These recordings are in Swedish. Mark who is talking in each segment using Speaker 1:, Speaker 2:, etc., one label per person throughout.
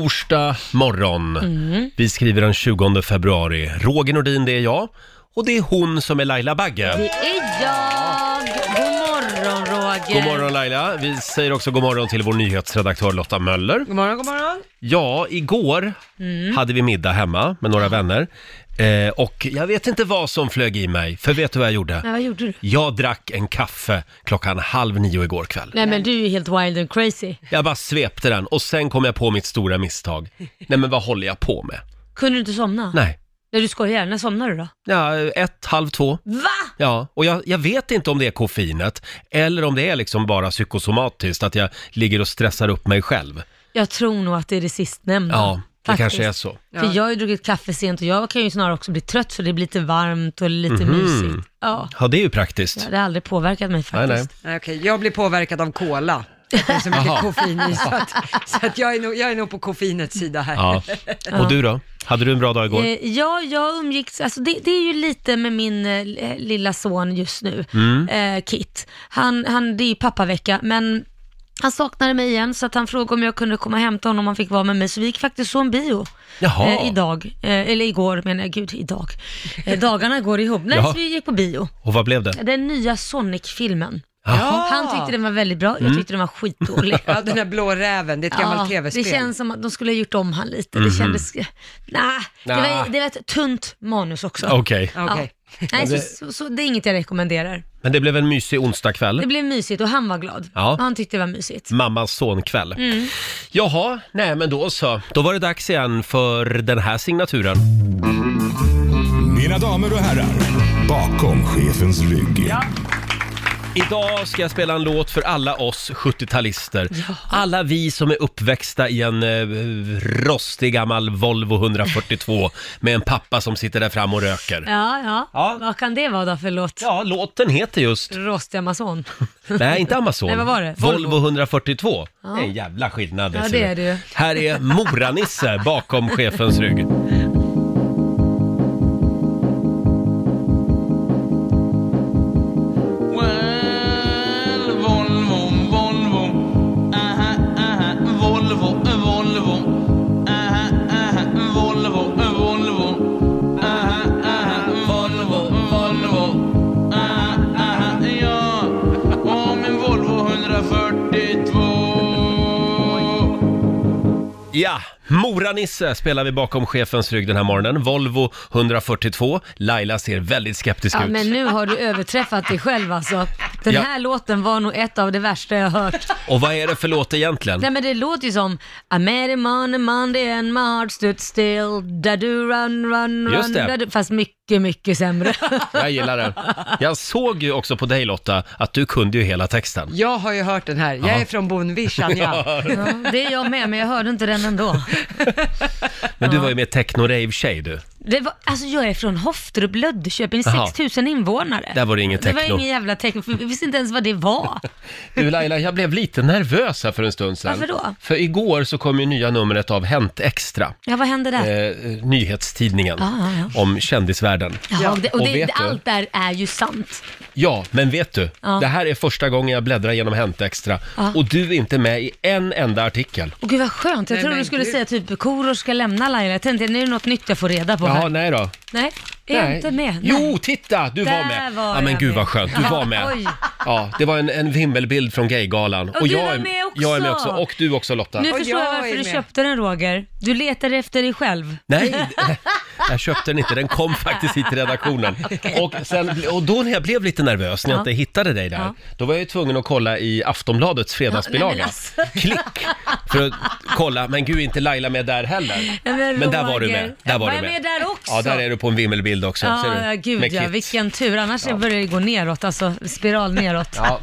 Speaker 1: torsdag morgon. Vi skriver den 20 februari. Roger Nordin, det är jag. Och det är hon som är Laila Bagge.
Speaker 2: Det är jag! God morgon Roger!
Speaker 1: God morgon Laila. Vi säger också god morgon till vår nyhetsredaktör Lotta Möller.
Speaker 3: God morgon, god morgon.
Speaker 1: Ja, igår hade vi middag hemma med några vänner. Eh, och jag vet inte vad som flög i mig, för vet du vad jag
Speaker 2: Nej,
Speaker 1: gjorde?
Speaker 2: vad gjorde du?
Speaker 1: Jag drack en kaffe klockan halv nio igår kväll.
Speaker 2: Nej men du är ju helt wild and crazy.
Speaker 1: Jag bara svepte den och sen kom jag på mitt stora misstag. Nej men vad håller jag på med?
Speaker 2: Kunde du inte somna?
Speaker 1: Nej.
Speaker 2: Nej du skojar, när somnade du då?
Speaker 1: Ja, ett, halv två.
Speaker 2: Va?
Speaker 1: Ja, och jag, jag vet inte om det är koffeinet eller om det är liksom bara psykosomatiskt, att jag ligger och stressar upp mig själv.
Speaker 2: Jag tror nog att det är det sistnämnda.
Speaker 1: Ja, det
Speaker 2: Faktiskt.
Speaker 1: kanske är så.
Speaker 2: För jag har ju druckit kaffe sent och jag kan ju snarare också bli trött för det blir lite varmt och lite mysigt. Ja,
Speaker 1: Ja, det är ju praktiskt.
Speaker 2: det har aldrig påverkat mig
Speaker 1: Mhm. nej,
Speaker 2: faktiskt.
Speaker 1: nej.
Speaker 3: Nej, Okej, jag blir påverkad av cola. Det är så mycket
Speaker 1: Jaha.
Speaker 3: koffein i, så att, så att jag, är nog, jag är nog på koffeinets sida här.
Speaker 1: Ja. Och du då? Hade du en bra dag igår?
Speaker 2: Eh, Ja, jag umgicks, alltså det, det är ju lite med min eh, lilla son just nu, eh, Kit. Han, han, det är ju pappavecka, men han saknade mig igen så att han frågade om jag kunde komma och hämta honom om han fick vara med mig. Så vi gick faktiskt så en bio
Speaker 1: Jaha.
Speaker 2: eh, idag, eh, eller igår menar jag, gud idag. Eh, dagarna går ihop. Nej,
Speaker 1: Jaha.
Speaker 2: så vi gick på bio.
Speaker 1: Och vad blev det?
Speaker 2: Den nya Sonic-filmen.
Speaker 3: Ja.
Speaker 2: Han tyckte den var väldigt bra, jag tyckte den var skitdålig.
Speaker 3: Ja, den där blå räven, det är ett gammalt tv-spel.
Speaker 2: Det känns som att de skulle ha gjort om han lite. Det kändes... Nej, det,
Speaker 1: Mhm. Nah.
Speaker 2: var, det var ett tunt manus också.
Speaker 1: Okej,
Speaker 3: Okej.
Speaker 2: Ja. Nej, så, så, så det är inget jag rekommenderar.
Speaker 1: men det blev en mysig
Speaker 2: Det
Speaker 1: onsdagkväll.
Speaker 2: blev mysigt och han var glad.
Speaker 1: Ja. Mm.
Speaker 2: Han tyckte det var mysigt.
Speaker 1: Mammas sonkväll.
Speaker 2: Mm.
Speaker 1: Jaha, nej men då så. Då var det dags igen för den här signaturen.
Speaker 4: Mina damer och herrar, bakom chefens rygg.
Speaker 1: Idag ska jag spela en låt för alla oss 70-talister. Alla vi som är uppväxta i en eh, rostig gammal Volvo 142 med en pappa som sitter där fram och röker.
Speaker 2: Ja, ja,
Speaker 1: Ja.
Speaker 2: Vad kan det vara då för låt?
Speaker 1: Ja, låten heter just...
Speaker 2: Rostig Amazon.
Speaker 1: Nej, inte Amazon.
Speaker 2: Nej, vad var det?
Speaker 1: Volvo 142. Det är en jävla skillnad.
Speaker 2: Ja,
Speaker 1: ser
Speaker 2: det
Speaker 1: du.
Speaker 2: är det ju.
Speaker 1: Här är Moranisse bakom chefens rygg.
Speaker 5: Well, Volvo, Volvo, aha, aha, Volvo, Volvo, aha, aha, Volvo, Volvo, aha, aha, Volvo, Volvo, aha, aha, ja, och min Volvo 142.
Speaker 1: Ja, Moranisse spelar vi bakom chefens rygg den här morgonen. Volvo 142. Laila ser väldigt skeptisk
Speaker 2: Ja,
Speaker 1: ut.
Speaker 2: men nu har du överträffat dig själv alltså. Den
Speaker 1: Ja.
Speaker 2: här låten var nog ett av det värsta jag hört.
Speaker 1: Och vad är det för låt egentligen?
Speaker 2: Nej men det låter ju som I met him on a Monday and my heart stood still. Da du run, run,
Speaker 1: Just
Speaker 2: run.
Speaker 1: det.
Speaker 2: Da du. Fast mycket, mycket sämre.
Speaker 1: Jag gillar den. Jag såg ju också på dig Lotta att du kunde ju hela texten.
Speaker 3: Jag har ju hört den här. Jag är från Bonvision, ja.
Speaker 2: ja, det är jag med, men jag hörde inte den ändå.
Speaker 1: Men du var ju mer techno-rave-tjej du.
Speaker 2: Det var, alltså jag är från Hofterup, Löddeköping,
Speaker 1: Jaha.
Speaker 2: 6000 invånare.
Speaker 1: Där var det ingen
Speaker 2: Det
Speaker 1: techno.
Speaker 2: var ingen jävla techno, för vi visste inte ens vad det var.
Speaker 1: Du Laila, jag blev lite nervös här för en stund sedan.
Speaker 2: Varför då?
Speaker 1: För igår så kom ju nya numret av Hänt Extra,
Speaker 2: Ja, vad hände där?
Speaker 1: eh, nyhetstidningen
Speaker 2: Ja, ja,
Speaker 1: om kändisvärlden.
Speaker 2: Jaha, det, och
Speaker 1: och
Speaker 2: det,
Speaker 1: vet
Speaker 2: det,
Speaker 1: du?
Speaker 2: allt där är ju sant.
Speaker 1: Ja, men vet du?
Speaker 2: Ja.
Speaker 1: Det här är första gången jag bläddrar genom Hänt Extra och du är inte med i en enda artikel.
Speaker 2: Och gud vad skönt, jag
Speaker 3: Nej,
Speaker 2: trodde
Speaker 3: men
Speaker 2: du skulle
Speaker 3: gud.
Speaker 2: säga typ koror ska lämna Laila. Jag tänkte, nu är det något nytt jag får reda på
Speaker 1: Jaha,
Speaker 2: här.
Speaker 1: nej då.
Speaker 2: Nej, är jag inte med?
Speaker 1: Jo, titta! Du
Speaker 2: Där
Speaker 1: var med.
Speaker 2: var
Speaker 1: ja, men
Speaker 2: jag
Speaker 1: gud
Speaker 2: med.
Speaker 1: vad skönt, du
Speaker 2: Ja,
Speaker 1: var med.
Speaker 2: oj.
Speaker 1: Ja, det var en, en vimmelbild från Gaygalan.
Speaker 2: Och du var
Speaker 1: är,
Speaker 2: med också.
Speaker 1: jag är med också. Och du också Lotta.
Speaker 2: Nu
Speaker 3: Och
Speaker 2: förstår jag
Speaker 3: jag
Speaker 2: varför
Speaker 3: är
Speaker 2: du
Speaker 3: med.
Speaker 2: köpte den Roger. Du letade efter dig själv.
Speaker 1: Nej, jag köpte den inte. Den kom faktiskt hit till redaktionen. Och, sen, och då när jag blev lite nervös, när jag
Speaker 2: Ja.
Speaker 1: inte hittade dig där,
Speaker 2: Ja.
Speaker 1: då var jag ju tvungen att kolla i Aftonbladets
Speaker 2: Ja,
Speaker 1: fredagsbilaga.
Speaker 2: nej, men alltså.
Speaker 1: Klick! För att kolla, men gud, är inte Laila med där heller.
Speaker 2: Nej,
Speaker 1: Men där var du
Speaker 2: Roger,
Speaker 1: med. Där var
Speaker 2: jag
Speaker 1: du med.
Speaker 2: där också?
Speaker 1: Ja, där är du på en vimmelbild också.
Speaker 2: Ja,
Speaker 1: ser du?
Speaker 2: ja, gud
Speaker 1: Med
Speaker 2: ja,
Speaker 1: Kit.
Speaker 2: vilken tur. Annars börjar det gå neråt, alltså spiral neråt.
Speaker 1: Ja,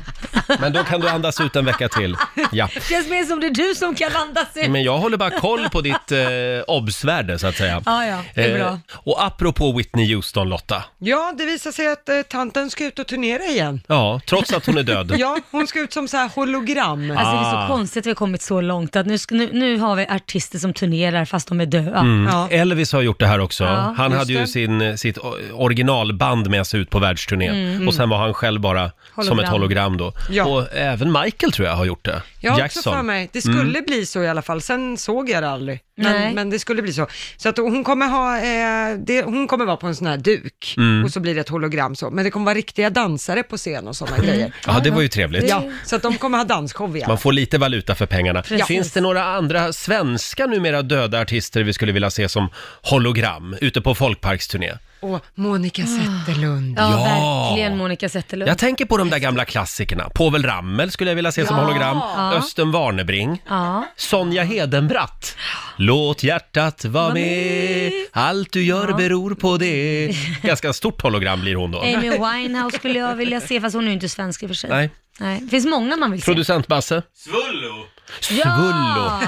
Speaker 1: men då kan du andas ut en vecka till. Ja.
Speaker 2: känns mer som det är du som kan andas ut.
Speaker 1: Men jag håller bara koll på ditt eh, obsvärde så att säga.
Speaker 2: Ja, ja, det är bra.
Speaker 1: Och apropå Whitney Houston, Lotta.
Speaker 3: Ja, det visar sig att eh, tanten ska ut och turnera igen.
Speaker 1: Ja, trots att hon är död.
Speaker 3: Ja, hon ska ut som så här hologram.
Speaker 2: Alltså det är
Speaker 1: Ah.
Speaker 2: så konstigt att vi har kommit så långt att nu, ska- nu, nu har vi artister som turnerar fast de är döda.
Speaker 1: Mm.
Speaker 3: Ja.
Speaker 1: Elvis har gjort det här också.
Speaker 2: Ja,
Speaker 1: han
Speaker 3: just
Speaker 1: hade ju
Speaker 3: det.
Speaker 1: sin, eh, sitt o- originalband med sig ut på världsturné och sen var han själv bara som
Speaker 2: Hologram.
Speaker 1: ett hologram då.
Speaker 3: Mm, Ja.
Speaker 1: Och även Michael tror jag har gjort det.
Speaker 3: Jag har också
Speaker 1: Jackson. Mm.
Speaker 3: för mig, det skulle bli så i alla fall. Sen såg jag det aldrig.
Speaker 2: Nej.
Speaker 3: Men, men det skulle bli så. Så att hon kommer ha, eh, det, hon kommer vara på en sån här duk
Speaker 1: Mm.
Speaker 3: och så blir det ett hologram så. Men det kommer vara riktiga dansare på scen och sådana grejer.
Speaker 1: Ja, det var ju
Speaker 2: Mm.
Speaker 1: trevligt.
Speaker 3: Ja, så att de kommer ha dansshow igen.
Speaker 1: Man får lite valuta för pengarna.
Speaker 2: Precis.
Speaker 1: Finns det några andra svenska numera döda artister vi skulle vilja se som hologram ute på folkparksturné?
Speaker 3: Och Monica Zetterlund.
Speaker 2: Ah. Ja,
Speaker 1: Ja.
Speaker 2: verkligen Monica Zetterlund.
Speaker 1: Jag tänker på de där gamla klassikerna. Povel Ramel skulle jag vilja se som hologram. Östen Warnerbring.
Speaker 2: Ja.
Speaker 1: Sonja Hedenbratt. Låt hjärtat vara
Speaker 2: Var
Speaker 1: med.
Speaker 2: med.
Speaker 1: Allt du gör beror på det. Ganska stort hologram blir hon då.
Speaker 2: Amy Winehouse skulle jag vilja se, fast hon är ju inte svensk i och för sig.
Speaker 1: Nej.
Speaker 2: Nej. Det finns många man vill se.
Speaker 1: Producent Basse.
Speaker 5: Svullo!
Speaker 1: Svullo.
Speaker 2: Ja!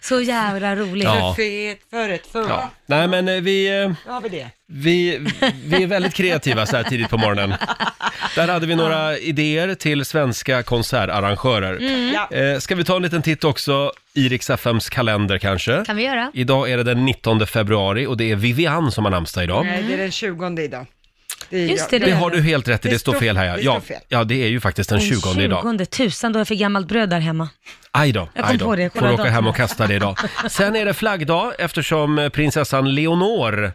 Speaker 2: Så jävla roligt.
Speaker 1: Ja.
Speaker 3: Fet för ett full.
Speaker 1: Ja. Nej men eh, vi, eh,
Speaker 3: Då har vi det.
Speaker 1: vi, vi är väldigt kreativa så här tidigt på morgonen. Där hade vi några idéer till svenska konsertarrangörer.
Speaker 3: Ja.
Speaker 1: Eh, Ska vi ta en liten titt också i Rix FMs kalender kanske?
Speaker 2: Kan vi göra?
Speaker 1: Idag är det den 19 februari och det är Vivian som har namnsdag idag.
Speaker 3: Nej, det är den 20 idag. Det är
Speaker 2: Just
Speaker 3: jag.
Speaker 2: det,
Speaker 1: Det
Speaker 2: är
Speaker 1: har du helt rätt i, det,
Speaker 3: Det
Speaker 1: står
Speaker 3: står-
Speaker 1: fel här. Ja.
Speaker 3: det
Speaker 1: Ja,
Speaker 3: står fel.
Speaker 1: ja, det är ju faktiskt den 20 idag. Eh,
Speaker 2: 20 tusan, då är jag för gammalt bröd där hemma.
Speaker 1: Aj då,
Speaker 2: Jag kom
Speaker 1: aj då.
Speaker 2: på det, jag
Speaker 1: Får
Speaker 2: kollade
Speaker 1: åka hem
Speaker 2: datumet.
Speaker 1: och kasta det idag. Sen är det flaggdag eftersom eh, prinsessan Leonor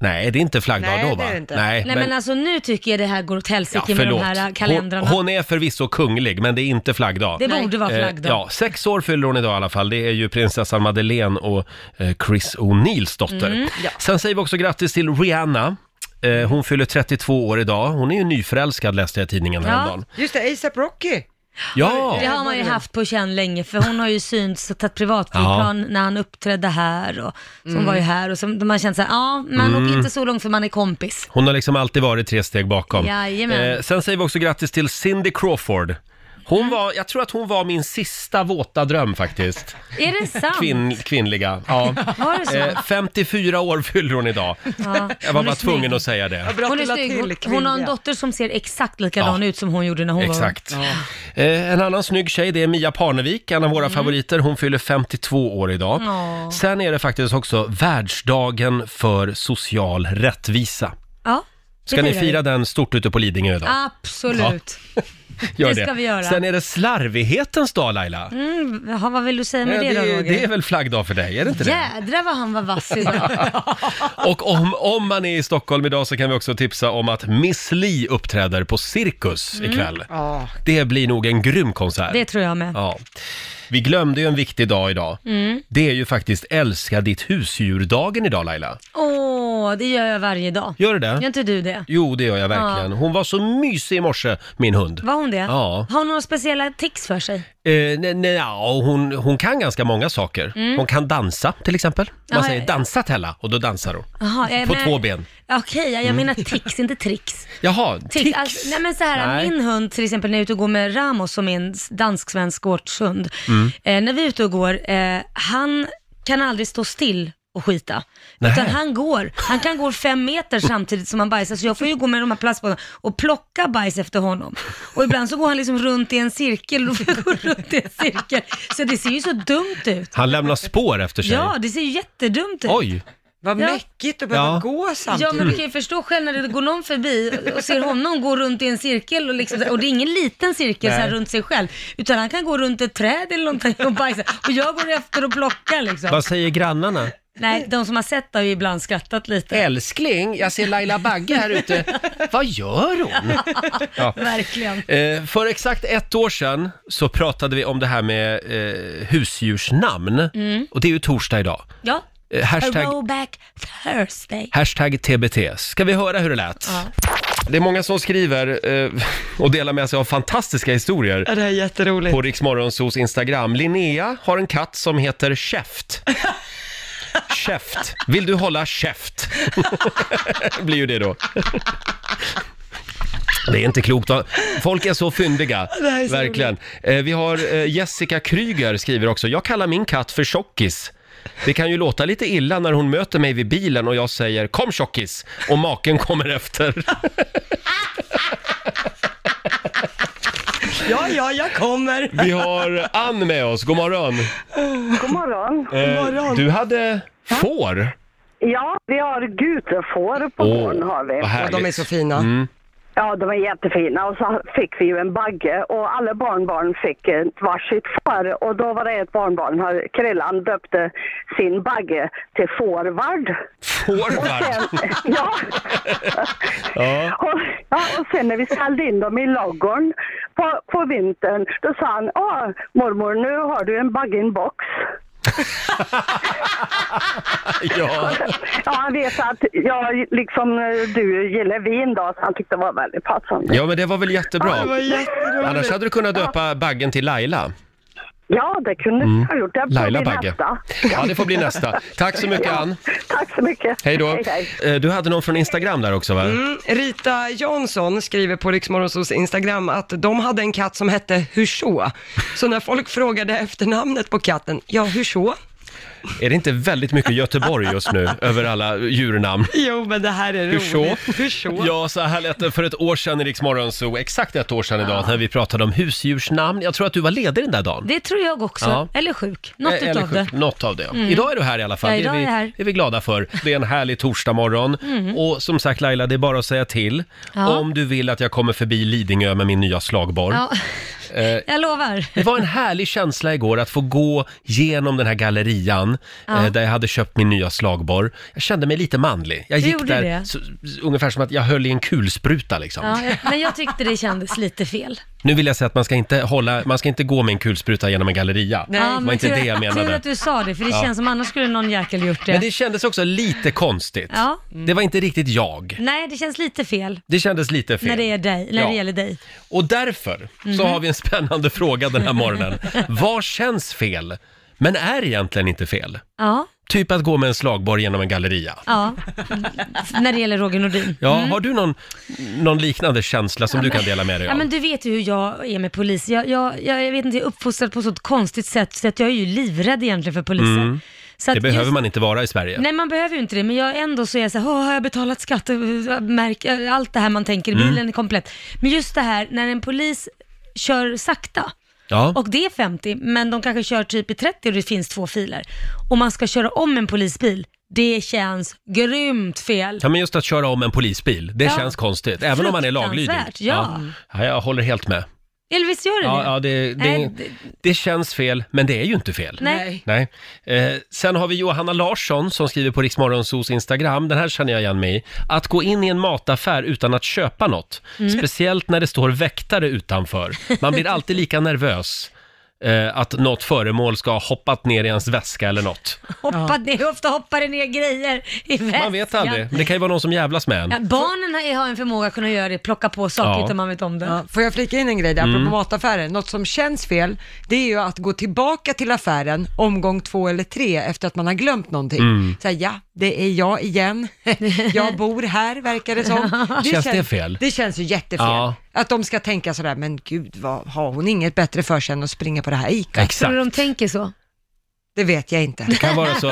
Speaker 1: Nej, det är inte flaggdag
Speaker 3: Nej,
Speaker 1: då
Speaker 3: det
Speaker 1: va?
Speaker 3: är det inte.
Speaker 1: Nej,
Speaker 2: Nej men, alltså nu tycker jag det här går åt helsike med de här äh,
Speaker 1: hon,
Speaker 2: kalendrarna.
Speaker 1: hon är förvisso kunglig, men det är inte flaggdag.
Speaker 2: Det
Speaker 3: Nej.
Speaker 2: borde vara
Speaker 1: Eh,
Speaker 2: flaggdag.
Speaker 1: ja, sex år fyller hon idag i alla fall. Det är ju prinsessan Madeleine och eh, Chris O'Neills dotter.
Speaker 2: Mm,
Speaker 1: Sen säger vi också grattis till Rihanna. Eh, hon fyller 32 år idag. Hon är ju nyförälskad läste jag i tidningen
Speaker 2: Ja.
Speaker 1: häromdagen.
Speaker 3: Just det, ASAP Rocky.
Speaker 1: Ja!
Speaker 2: Det har man ju haft på känn länge för hon har ju synts och tagit privatflygplan när han uppträdde här och som var ju här och så man känner såhär, ja man
Speaker 1: Mm.
Speaker 2: åker inte så långt för man är kompis.
Speaker 1: Hon har liksom alltid varit tre steg bakom. Eh,
Speaker 2: Jajamän.
Speaker 1: sen säger vi också grattis till Cindy Crawford. Hon var, jag tror att hon var min sista våta dröm faktiskt.
Speaker 2: Är det sant?
Speaker 1: Kvinn, kvinnliga. Ja.
Speaker 2: Var det så?
Speaker 1: Eh, 54 år fyller hon idag.
Speaker 2: Ja.
Speaker 1: Jag var
Speaker 2: Hon är
Speaker 1: bara tvungen
Speaker 2: snygg.
Speaker 1: att säga det.
Speaker 3: Bra
Speaker 2: Hon är
Speaker 3: att du la
Speaker 2: snygg. Hon,
Speaker 3: till
Speaker 2: hon har en
Speaker 3: kvinnliga.
Speaker 2: dotter som ser exakt likadan ut som hon gjorde när hon var ung.
Speaker 1: Exakt. Eh, en annan snygg tjej, det är Mia Parnevik, en av våra favoriter. Hon fyller 52 år idag.
Speaker 2: Mm. Ja.
Speaker 1: Sen är det faktiskt också världsdagen för social rättvisa.
Speaker 2: Ja, det
Speaker 1: Ska ni
Speaker 2: firar vi.
Speaker 1: fira den stort ute på Lidingö idag?
Speaker 2: Absolut.
Speaker 1: Gör
Speaker 2: det ska vi göra.
Speaker 1: Sen är det slarvighetens dag Laila.
Speaker 2: Mm, jaha, vad vill du säga med
Speaker 1: Eh,
Speaker 2: det, då
Speaker 1: det,
Speaker 2: Roger?
Speaker 1: det är väl flaggdag för dig, är det inte det?
Speaker 2: Jädrar vad han var vass idag.
Speaker 1: Och om, om man är i Stockholm idag så kan vi också tipsa om att Miss Li uppträder på Cirkus ikväll.
Speaker 3: Ja,
Speaker 1: Det blir nog en grym konsert.
Speaker 2: Mm. Det tror jag med.
Speaker 1: Ja. Vi glömde ju en viktig dag idag.
Speaker 2: Mm.
Speaker 1: Det är ju faktiskt älska ditt husdjurdagen idag Laila.
Speaker 2: Åh, det gör jag varje dag.
Speaker 1: Gör du det?
Speaker 2: Gör inte du det?
Speaker 1: Jo, det gör jag verkligen. Hon var så mysig i morse, min hund.
Speaker 2: Var hon det?
Speaker 1: Ja.
Speaker 2: Har hon några speciella tics för sig?
Speaker 1: Eh, nej, nej, ja, hon, hon kan ganska många saker. Hon kan dansa till exempel. Man
Speaker 2: Mm. Ja,
Speaker 1: säger
Speaker 2: ja.
Speaker 1: dansa Tella och då dansar hon.
Speaker 2: Jaha, jag
Speaker 1: På
Speaker 2: menar-
Speaker 1: två ben. Mm.
Speaker 2: Okej, jag menar tics, inte tricks.
Speaker 1: Jaha,
Speaker 2: Tics.
Speaker 1: tics.
Speaker 2: Alltså, nej men så här,
Speaker 1: Nej.
Speaker 2: min hund till exempel när jag är ute och går med Ramos som är en dansk-svensk gårdshund.
Speaker 1: Mm.
Speaker 2: Eh, när vi är ute och går, eh, han kan aldrig stå still och skita.
Speaker 1: Nähä.
Speaker 2: Utan han går. Han kan gå fem meter samtidigt som han bajsar. Så jag får ju gå med de här plastpåsarna och plocka bajs efter honom. Och ibland så går han liksom runt i en cirkel. Och får jag gå runt i en cirkel. Så det ser ju så dumt ut.
Speaker 1: Han lämnar spår efter sig.
Speaker 2: Ja, det ser ju jättedumt ut.
Speaker 1: Oj,
Speaker 3: vad
Speaker 2: Ja.
Speaker 3: mäckigt att behöva
Speaker 1: Ja.
Speaker 3: gå
Speaker 2: Ja
Speaker 3: samtidigt.
Speaker 2: men du kan ju förstå själv när det går någon förbi och ser honom gå runt i en cirkel och, liksom, och det är ingen liten cirkel så här runt sig själv utan han kan gå runt ett träd eller någonting och bajsa och jag går efter och plockar liksom.
Speaker 1: vad säger grannarna?
Speaker 2: Nej, de som har sett det har ju ibland skrattat lite.
Speaker 1: Älskling, jag ser Laila Bagge här ute. Vad gör hon? Ja.
Speaker 2: Verkligen.
Speaker 1: Eh, för exakt ett år sedan så pratade vi om det här med eh, husdjursnamn. Och det är ju torsdag idag.
Speaker 2: Ja.
Speaker 1: Eh, hashtag,
Speaker 2: Throwback Thursday.
Speaker 1: hashtag TBT. Ska vi höra hur det lät? Det är många som skriver eh, och delar med sig av fantastiska historier
Speaker 3: Ja, det här är jätteroligt.
Speaker 1: på Riksmorgonsos Instagram. Linnea har en katt som heter Käft. Käft. Vill du hålla käft? blir ju det då. Det är inte klokt. va? Folk är så fyndiga.
Speaker 3: är så
Speaker 1: verkligen. Eh, Vi har eh, Jessica Kryger skriver också. Jag kallar min katt för Tjockis. Det kan ju låta lite illa när hon möter mig vid bilen och jag säger “Kom tjockis” och maken kommer efter.
Speaker 3: Ja, ja, jag kommer.
Speaker 1: Vi har Ann med oss, god morgon.
Speaker 6: God morgon.
Speaker 1: Eh, du hade får.
Speaker 6: Ja, vi har gutefår på
Speaker 1: Åh,
Speaker 6: gården. har vi.
Speaker 1: vad
Speaker 3: Ja,
Speaker 1: härligt.
Speaker 3: de är så fina.
Speaker 6: Ja, de är jättefina. Och så fick vi ju en bagge och alla barnbarn fick ett varsitt får. Och då var det ett barnbarn, har- Krillan, döpte sin bagge till Forward.
Speaker 1: Forward.
Speaker 6: Sen, ja.
Speaker 1: Ja.
Speaker 6: Och, ja, och sen när vi ställde in dem i ladugården på, på vintern, då sa han, Åh, mormor, nu har du en bagge in box.
Speaker 1: ja.
Speaker 6: Ja, han vet att jag, liksom, eh, du gillar vin då, så han tyckte det var väldigt passande.
Speaker 1: ja, men det var väl
Speaker 3: Det var
Speaker 1: jättebra. Annars
Speaker 3: jätteroligt.
Speaker 1: hade du kunnat döpa baggen till Laila.
Speaker 6: Ja, det kunde jag ha gjort. Det får
Speaker 1: Mm. Laila
Speaker 6: bli
Speaker 1: Bagge.
Speaker 6: nästa.
Speaker 1: Ja, det får bli nästa. Tack så mycket Ann.
Speaker 6: Tack så mycket.
Speaker 1: Hej då.
Speaker 6: hej.
Speaker 1: Eh, Du hade någon från Instagram där också va?
Speaker 3: Mm, Rita Jansson skriver på Riksmorgonsols Instagram att de hade en katt som hette Hurså. Så när folk frågade efter namnet på katten, ja Hurså?
Speaker 1: Är det inte väldigt mycket Göteborg just nu över alla djurnamn?
Speaker 3: Jo, men det här är
Speaker 1: Hurså.
Speaker 3: roligt. Hurså?
Speaker 1: Ja, så här lät det för ett år sedan i Rix Morgon Zoo, exakt ett år sedan idag, när vi pratade om husdjursnamn. Jag tror att du var ledig den där dagen.
Speaker 2: Det tror jag också.
Speaker 1: Ja.
Speaker 2: Eller sjuk. Något
Speaker 1: Eh, eller
Speaker 2: utav det. Mm.
Speaker 1: sjukt, Något av det. Idag är du här i alla fall.
Speaker 2: Ja,
Speaker 1: Det
Speaker 2: idag
Speaker 1: är
Speaker 2: är
Speaker 1: vi,
Speaker 2: jag här. Mm.
Speaker 1: är vi glada för. Det är en härlig torsdagmorgon. Och som sagt Laila, det är bara att säga till
Speaker 2: Ja.
Speaker 1: om du vill att jag kommer förbi Lidingö med min nya slagborr.
Speaker 2: Ja.
Speaker 1: Eh,
Speaker 2: Jag lovar.
Speaker 1: Det var en härlig känsla igår att få gå genom den här gallerian
Speaker 2: Ja.
Speaker 1: eh, där jag hade köpt min nya slagborr. Jag kände mig lite manlig. Jag
Speaker 2: Du
Speaker 1: gick
Speaker 2: gjorde
Speaker 1: där
Speaker 2: det?
Speaker 1: så, s- ungefär som att jag höll i en kulspruta liksom.
Speaker 2: Ja, jag- men jag tyckte det kändes lite fel.
Speaker 1: Nu vill jag säga att man ska inte, hålla, man ska inte gå med en kulspruta genom en galleria.
Speaker 3: Nej.
Speaker 2: Ja,
Speaker 1: Det var inte
Speaker 2: tur,
Speaker 1: det jag menade.
Speaker 2: Tur att du sa det, för det känns som annars skulle någon jäkel gjort det.
Speaker 1: Men det kändes också lite konstigt.
Speaker 2: Ja.
Speaker 1: Det var inte riktigt jag.
Speaker 2: Nej, det känns lite fel,
Speaker 1: Det kändes lite fel.
Speaker 2: när det, är dig, när
Speaker 1: Ja.
Speaker 2: det gäller Mhm. dig.
Speaker 1: Och därför så har vi en spännande fråga den här morgonen. Vad känns fel, men är egentligen inte fel?
Speaker 2: Ja,
Speaker 1: Typ att gå med en slagborr genom en galleria.
Speaker 2: ja. när det gäller Roger Nordin.
Speaker 1: Ja, har du någon, någon liknande känsla som du kan dela med dig av?
Speaker 2: Mm. Ja, men du vet ju hur jag är med polis. Jag, jag, jag, jag vet inte, jag är uppfostrad på ett sådant konstigt sätt så att jag är ju livrädd egentligen för polisen. Så att
Speaker 1: Mm. det behöver
Speaker 2: just-
Speaker 1: man inte vara i Sverige.
Speaker 2: Nej, man behöver ju inte det, men jag ändå så är jag så här, "Åh, har jag betalat skatt? Och, äh, Märk, äh, allt det här man tänker
Speaker 1: Mm.
Speaker 2: i bilen är komplett. Men just det här när en polis kör sakta,
Speaker 1: Ja.
Speaker 2: och det är 50, men de kanske kör typ i 30 och det finns två filer, och man ska köra om en polisbil, det känns grymt fel.
Speaker 1: ja, men just att köra om en polisbil, det
Speaker 2: Ja.
Speaker 1: känns konstigt. Även om man är laglydig.
Speaker 2: Fruktansvärt, ja.
Speaker 1: ja. Jag håller helt med.
Speaker 2: Eller visst gör det
Speaker 1: Ja,
Speaker 2: det?
Speaker 1: ja, det, det,
Speaker 2: Nej,
Speaker 1: det,
Speaker 2: det-
Speaker 1: känns fel, men det är ju inte fel.
Speaker 2: Nej.
Speaker 1: Nej. Eh, sen har vi Johanna Larsson som skriver på Riksmorgonsos Instagram, den här känner jag igen mig i. Att gå in i en mataffär utan att köpa något,
Speaker 2: Mm.
Speaker 1: speciellt när det står väktare utanför. Man blir alltid lika nervös eh, att något föremål ska ha hoppat ner i ens väska eller något.
Speaker 2: Hoppat ner, ofta hoppar det ner grejer i väskan.
Speaker 1: Man vet aldrig, men det kan ju vara någon som jävlas med en.
Speaker 2: Ja, barnen har- har en förmåga att kunna göra det, plocka på saker
Speaker 1: Ja.
Speaker 2: utan man vet om det.
Speaker 3: Ja, får jag flika in en grej där,
Speaker 1: Mm.
Speaker 3: apropå mataffären. Något som känns fel, det är ju att gå tillbaka till affären omgång två eller tre efter att man har glömt någonting.
Speaker 1: Mm.
Speaker 3: Så här, ja, det är jag igen. jag bor här, verkar det som.
Speaker 1: Känns det fel?
Speaker 3: Det känns ju jättefel.
Speaker 1: Ja.
Speaker 3: Att de ska tänka sådär, men gud, vad, har hon inget bättre för sig än att springa på det här ICA?
Speaker 2: Tror
Speaker 1: Exakt.
Speaker 2: du de tänker så?
Speaker 3: Det vet jag inte.
Speaker 1: Det kan vara så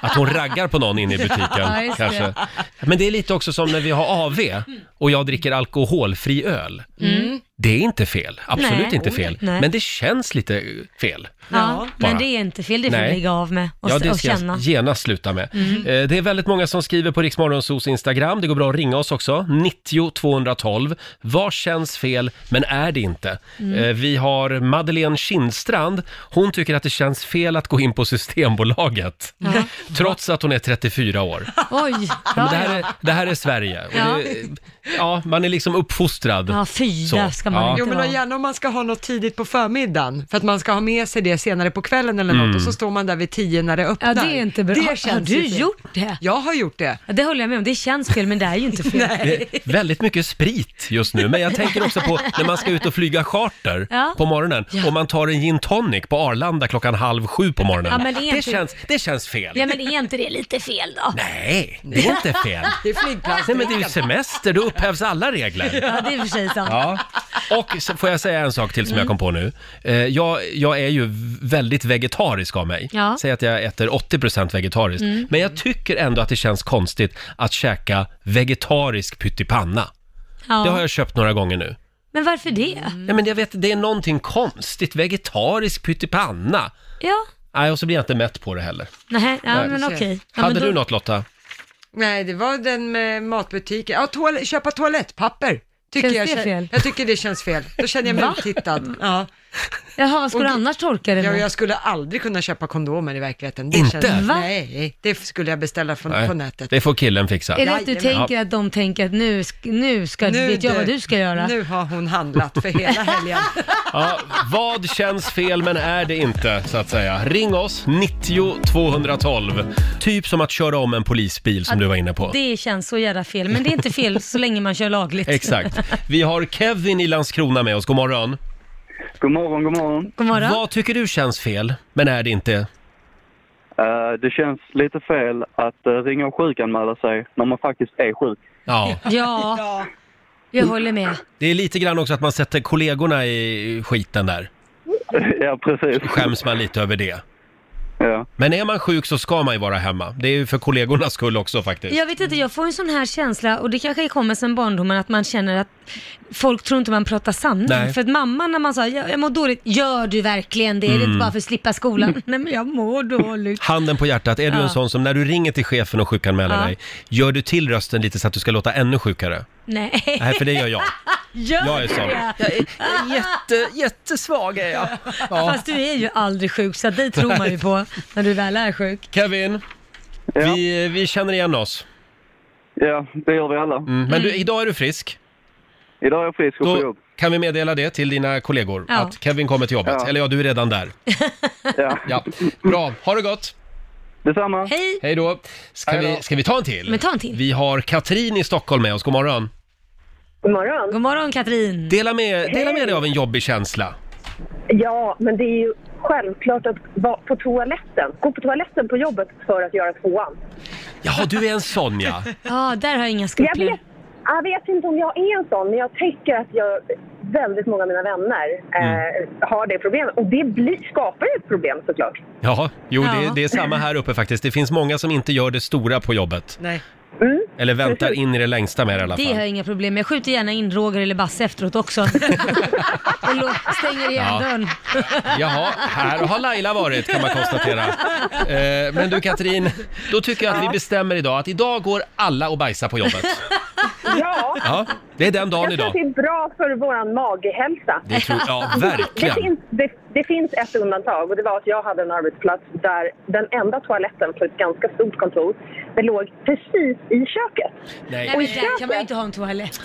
Speaker 1: att hon raggar på någon inne i butiken.
Speaker 2: Ja, just det.
Speaker 1: kanske. Men det är lite också som när vi har AV och jag dricker alkoholfri öl.
Speaker 3: Mm.
Speaker 1: Det är inte fel, absolut
Speaker 2: Nej.
Speaker 1: inte fel.
Speaker 2: Nej.
Speaker 1: Men det känns lite fel.
Speaker 2: Ja,
Speaker 1: Bara.
Speaker 2: men det är inte fel. Det får
Speaker 1: Nej.
Speaker 2: vi lägga av med och,
Speaker 1: Ja, det
Speaker 2: och
Speaker 1: ska
Speaker 2: känna. Mm.
Speaker 1: jag genast sluta med. Eh, Det är väldigt många som skriver på Riksmorgonsos Instagram. Det går bra att ringa oss också. 90 212. Vad känns fel, men är det inte?
Speaker 2: Mm.
Speaker 1: Eh, Vi har Madeleine Kindstrand. Hon tycker att det känns fel att gå in på Systembolaget. Trots att hon är 34 år.
Speaker 2: Oj!
Speaker 1: Men
Speaker 2: Ja, ja.
Speaker 1: det, här är, det här är Sverige. Och
Speaker 2: Ja.
Speaker 1: Det, ja, man är liksom uppfostrad.
Speaker 2: ja fy,
Speaker 1: Så.
Speaker 2: där ska man
Speaker 1: Ja.
Speaker 2: inte
Speaker 3: Jo men
Speaker 2: vara.
Speaker 3: och gärna om man ska ha något tidigt på förmiddagen, för att man ska ha med sig det senare på kvällen eller något och
Speaker 1: Mm.
Speaker 3: så står man där vid tio när det öppnar.
Speaker 2: Ja, det är inte bra.
Speaker 3: Det
Speaker 2: har, har
Speaker 3: känns
Speaker 2: du
Speaker 3: ju fel.
Speaker 2: gjort det?
Speaker 3: Jag har gjort det.
Speaker 2: Ja, det håller jag med om. Det känns fel, men det är ju inte fel.
Speaker 1: Det är väldigt mycket sprit just nu, men jag tänker också på när man ska ut och flyga charter
Speaker 2: Ja.
Speaker 1: på morgonen och man tar en gin tonic på Arlanda klockan halv sju på morgonen.
Speaker 2: Ja, men det är
Speaker 1: det,
Speaker 2: inte-
Speaker 1: känns, det känns fel.
Speaker 2: Ja, men är inte det lite fel då?
Speaker 1: Nej, det är inte fel.
Speaker 3: Det är flygplats.
Speaker 1: Nej, men det är ju semester, då upphävs alla regler.
Speaker 2: Ja, det är i och för sig sant.
Speaker 1: Ja. Och så får jag säga en sak till som
Speaker 2: Mm.
Speaker 1: jag kom på nu. Eh, Jag, jag är ju väldigt vegetarisk av mig.
Speaker 2: Ja. Mm.
Speaker 1: Säg att jag äter 80% vegetariskt. Men jag tycker ändå att det känns konstigt att käka vegetarisk pyttipanna. Det har
Speaker 2: Ja.
Speaker 1: jag köpt några gånger nu.
Speaker 2: Men varför det?
Speaker 3: Mm.
Speaker 1: Ja, men jag vet, det är någonting konstigt. Vegetarisk pyttipanna.
Speaker 2: Ja,
Speaker 1: Nej, och så blir jag inte mätt på det heller.
Speaker 2: nej, ja
Speaker 1: Nej.
Speaker 2: men okej. Ja,
Speaker 1: Hade
Speaker 2: men då-
Speaker 1: du något Lotta?
Speaker 3: Nej, det var den med matbutiken. Ja, toal- köpa toalettpapper. Tycker
Speaker 2: Känns
Speaker 3: jag,
Speaker 2: det fel?
Speaker 3: jag tycker det känns fel. Då känner jag mig uttittad. Ja.
Speaker 2: Jaha, vad ska du
Speaker 3: Och-
Speaker 2: annars torka det
Speaker 3: Ja,
Speaker 2: med?
Speaker 3: jag skulle aldrig kunna köpa kondomer i verkligheten. Det
Speaker 1: Inte?
Speaker 3: Känns,
Speaker 2: Va?
Speaker 3: nej, det skulle jag beställa från,
Speaker 1: Nej,
Speaker 3: på nätet.
Speaker 1: Det får killen fixa.
Speaker 2: Är det att du
Speaker 3: Jajamän.
Speaker 2: tänker att de tänker att nu, sk- nu ska, vet jag
Speaker 3: du-
Speaker 2: vad du ska göra?
Speaker 3: Nu har hon handlat för hela helgen.
Speaker 1: Ja, vad känns fel men är det inte, så att säga. Ring oss, 90 212. Typ som att köra om en polisbil som du var inne på.
Speaker 2: Det känns så jävla fel, men det är inte fel så länge man kör lagligt.
Speaker 1: Exakt. Vi har Kevin i Landskrona med oss, god morgon.
Speaker 7: God morgon, god morgon.
Speaker 2: God morgon.
Speaker 1: Vad tycker du känns fel, men är det inte?
Speaker 7: Eh, det känns lite fel att eh, ringa och sjukanmäla sig när man faktiskt är sjuk.
Speaker 1: Ja,
Speaker 2: Ja,
Speaker 3: Ja.
Speaker 2: jag håller med.
Speaker 1: det är lite grann också att man sätter kollegorna i skiten där.
Speaker 7: ja, precis.
Speaker 1: Skäms man lite över det.
Speaker 7: Ja.
Speaker 1: Men är man sjuk så ska man ju vara hemma. Det är ju för kollegornas skull också faktiskt.
Speaker 2: Jag vet inte, jag får en sån här känsla, och det kanske kommer sen barndomen, att man känner att folk tror inte man pratar sanning.
Speaker 1: Nej.
Speaker 2: För att mamma när man sa, jag, jag mår dåligt, gör du verkligen det? Är det
Speaker 1: Mm.
Speaker 2: inte bara för att slippa skolan? Nej men jag mår dåligt.
Speaker 1: Handen på hjärtat, är du en
Speaker 2: Ja.
Speaker 1: sån som när du ringer till chefen och sjukanmäler
Speaker 2: Ja.
Speaker 1: dig, gör du till rösten lite så att du ska låta ännu sjukare?
Speaker 2: Nej,
Speaker 1: Nej, för det gör jag.
Speaker 2: gör
Speaker 1: Jag är sån.
Speaker 2: det!
Speaker 1: jätte, jättesvag är jag. Ja.
Speaker 2: Fast du är ju aldrig sjuk, så det tror man ju på när du väl är sjuk.
Speaker 1: Kevin,
Speaker 7: Ja.
Speaker 1: vi, vi känner igen oss.
Speaker 7: ja, det gör vi alla.
Speaker 1: Mm. Men du, idag är du frisk.
Speaker 7: Idag är jag frisk och på
Speaker 1: Då
Speaker 7: jobb.
Speaker 1: kan vi meddela det till dina kollegor,
Speaker 2: Ja.
Speaker 1: att Kevin kommer till jobbet.
Speaker 7: Ja.
Speaker 1: Eller ja, du är redan där.
Speaker 7: Ja.
Speaker 1: Ja. Bra, ha det gott.
Speaker 7: Detsamma.
Speaker 2: Hej!
Speaker 1: Hej då. Ska,
Speaker 7: Hej då.
Speaker 1: Vi, ska vi ta en till?
Speaker 2: Men ta en till.
Speaker 1: Vi har Katrin i Stockholm med oss, god morgon.
Speaker 8: God morgon.
Speaker 2: God morgon Katrin!
Speaker 1: Dela med, dela med dig av en jobbig känsla.
Speaker 8: Ja, men det är ju självklart att vara på toaletten. Gå på toaletten på jobbet för att göra tvåan.
Speaker 1: Jaha, du är en sån ja.
Speaker 2: Ja, där har jag inga
Speaker 8: Jag
Speaker 2: skrupler.
Speaker 8: vet, jag vet inte om jag är en sån, men jag tänker att jag, väldigt många av mina vänner
Speaker 1: Mm.
Speaker 8: eh, har det problemet. Och det blir, skapar ju ett problem såklart.
Speaker 1: Jaha, jo Det,
Speaker 2: Ja.
Speaker 1: det är samma här uppe faktiskt. Det finns många som inte gör det stora på jobbet.
Speaker 3: Nej.
Speaker 1: Eller väntar in i det längsta med det i alla
Speaker 2: Det har
Speaker 1: fall.
Speaker 2: jag inga problem med. Jag skjuter gärna in Roger eller Basse efteråt också. och lå- stänger igen
Speaker 1: Ja.
Speaker 2: dörren.
Speaker 1: Jaha, här har Laila varit kan man konstatera. Eh, men du Katrin, då tycker jag att vi bestämmer idag att idag går alla och bajsar på jobbet.
Speaker 8: Ja,
Speaker 1: Ja, det är den dagen
Speaker 8: jag tror att det
Speaker 1: idag.
Speaker 8: är bra för vår maghälsa.
Speaker 1: Det tror, ja,
Speaker 8: Det
Speaker 1: verkligen.
Speaker 8: finns, det, det finns ett undantag och det var att jag hade en arbetsplats där den enda toaletten på ett ganska stort kontor, det låg precis i köket.
Speaker 1: Nej.
Speaker 2: Nej men där kan man ju inte ha en toalett.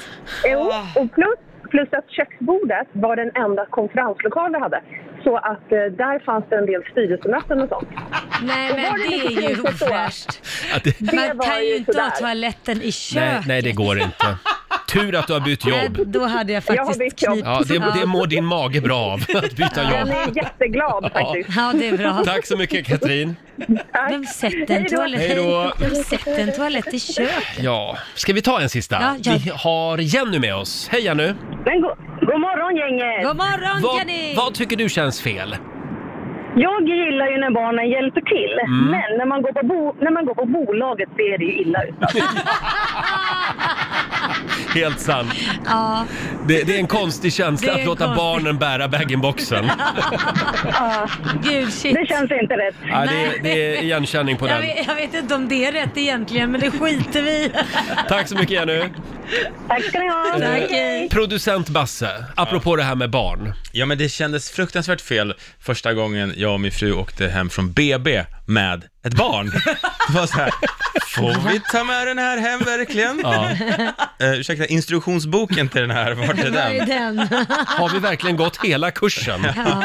Speaker 8: Jo,
Speaker 2: Ah.
Speaker 8: och plus, plus att köksbordet var den enda konferenslokal vi hade. Så att eh, där fanns det en del styrelsemöten och sånt.
Speaker 2: Nej men
Speaker 8: var det
Speaker 2: det
Speaker 8: lite
Speaker 2: är ju
Speaker 8: fint så?
Speaker 2: ofräscht.
Speaker 1: Att det,
Speaker 8: Det
Speaker 2: Man
Speaker 8: var
Speaker 2: kan ju
Speaker 8: ju
Speaker 2: inte ha
Speaker 8: sådär.
Speaker 2: toaletten i
Speaker 1: nej,
Speaker 2: köket.
Speaker 1: nej, det går inte. Tur att du har bytt
Speaker 2: Nej,
Speaker 1: jobb.
Speaker 2: Då hade jag
Speaker 8: Jag har
Speaker 2: faktiskt
Speaker 8: bytt jobb.
Speaker 2: knipit.
Speaker 1: Ja, det, det mår din mage bra av, att byta
Speaker 8: Jag
Speaker 1: jobb.
Speaker 8: är jätteglad faktiskt.
Speaker 2: Ja, det är bra.
Speaker 1: Tack så mycket Katrin.
Speaker 8: Tack.
Speaker 2: Vem sätter en
Speaker 8: Hej då.
Speaker 2: toalett?
Speaker 1: Hej då.
Speaker 2: Vem sätter en toalett i köket?
Speaker 1: Ja, ska vi ta en sista?
Speaker 2: Ja, ja.
Speaker 1: Vi har Jenny med oss. Hej Jenny!
Speaker 8: Men go- god morgon gänget!
Speaker 2: God morgon
Speaker 1: Vad,
Speaker 2: Jenny!
Speaker 1: vad tycker du känns fel?
Speaker 8: Jag gillar ju när barnen hjälper till,
Speaker 2: Mm.
Speaker 8: men när man, går på bo- när man går på bolaget ser det ju illa ut.
Speaker 1: Helt sant.
Speaker 2: Ja,
Speaker 1: Det, det är en konstig känsla
Speaker 2: Det är
Speaker 1: att låta
Speaker 2: konstigt.
Speaker 1: barnen bära bag-in-boxen.
Speaker 2: gud shit.
Speaker 8: Det känns inte rätt.
Speaker 1: Ja, det, är- det är igenkänning på
Speaker 2: Jag
Speaker 1: den.
Speaker 2: vet, jag vet inte om det är rätt egentligen, men det skiter vi
Speaker 1: Eh.
Speaker 2: i.
Speaker 1: Tack så mycket Jenny!
Speaker 8: Tack ska ni ha!
Speaker 2: Tack.
Speaker 1: Producent Basse, apropå det här med barn.
Speaker 9: Ja, men det kändes fruktansvärt fel första gången jag och min fru åkte hem från BB med ett barn. Det var så här, får vi ta med den här hem verkligen?
Speaker 1: Ja.
Speaker 9: Eh, ursäkta, instruktionsboken till den här, vart är
Speaker 2: Vad är
Speaker 9: den?
Speaker 2: den?
Speaker 1: Har vi verkligen gått hela kursen?
Speaker 2: Ja.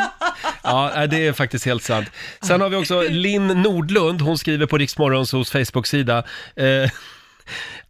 Speaker 1: Ja, nej, det är faktiskt helt sant. Sen har vi också Linn Nordlund, hon skriver på Riksmorgonsos Facebook-sida. Eh,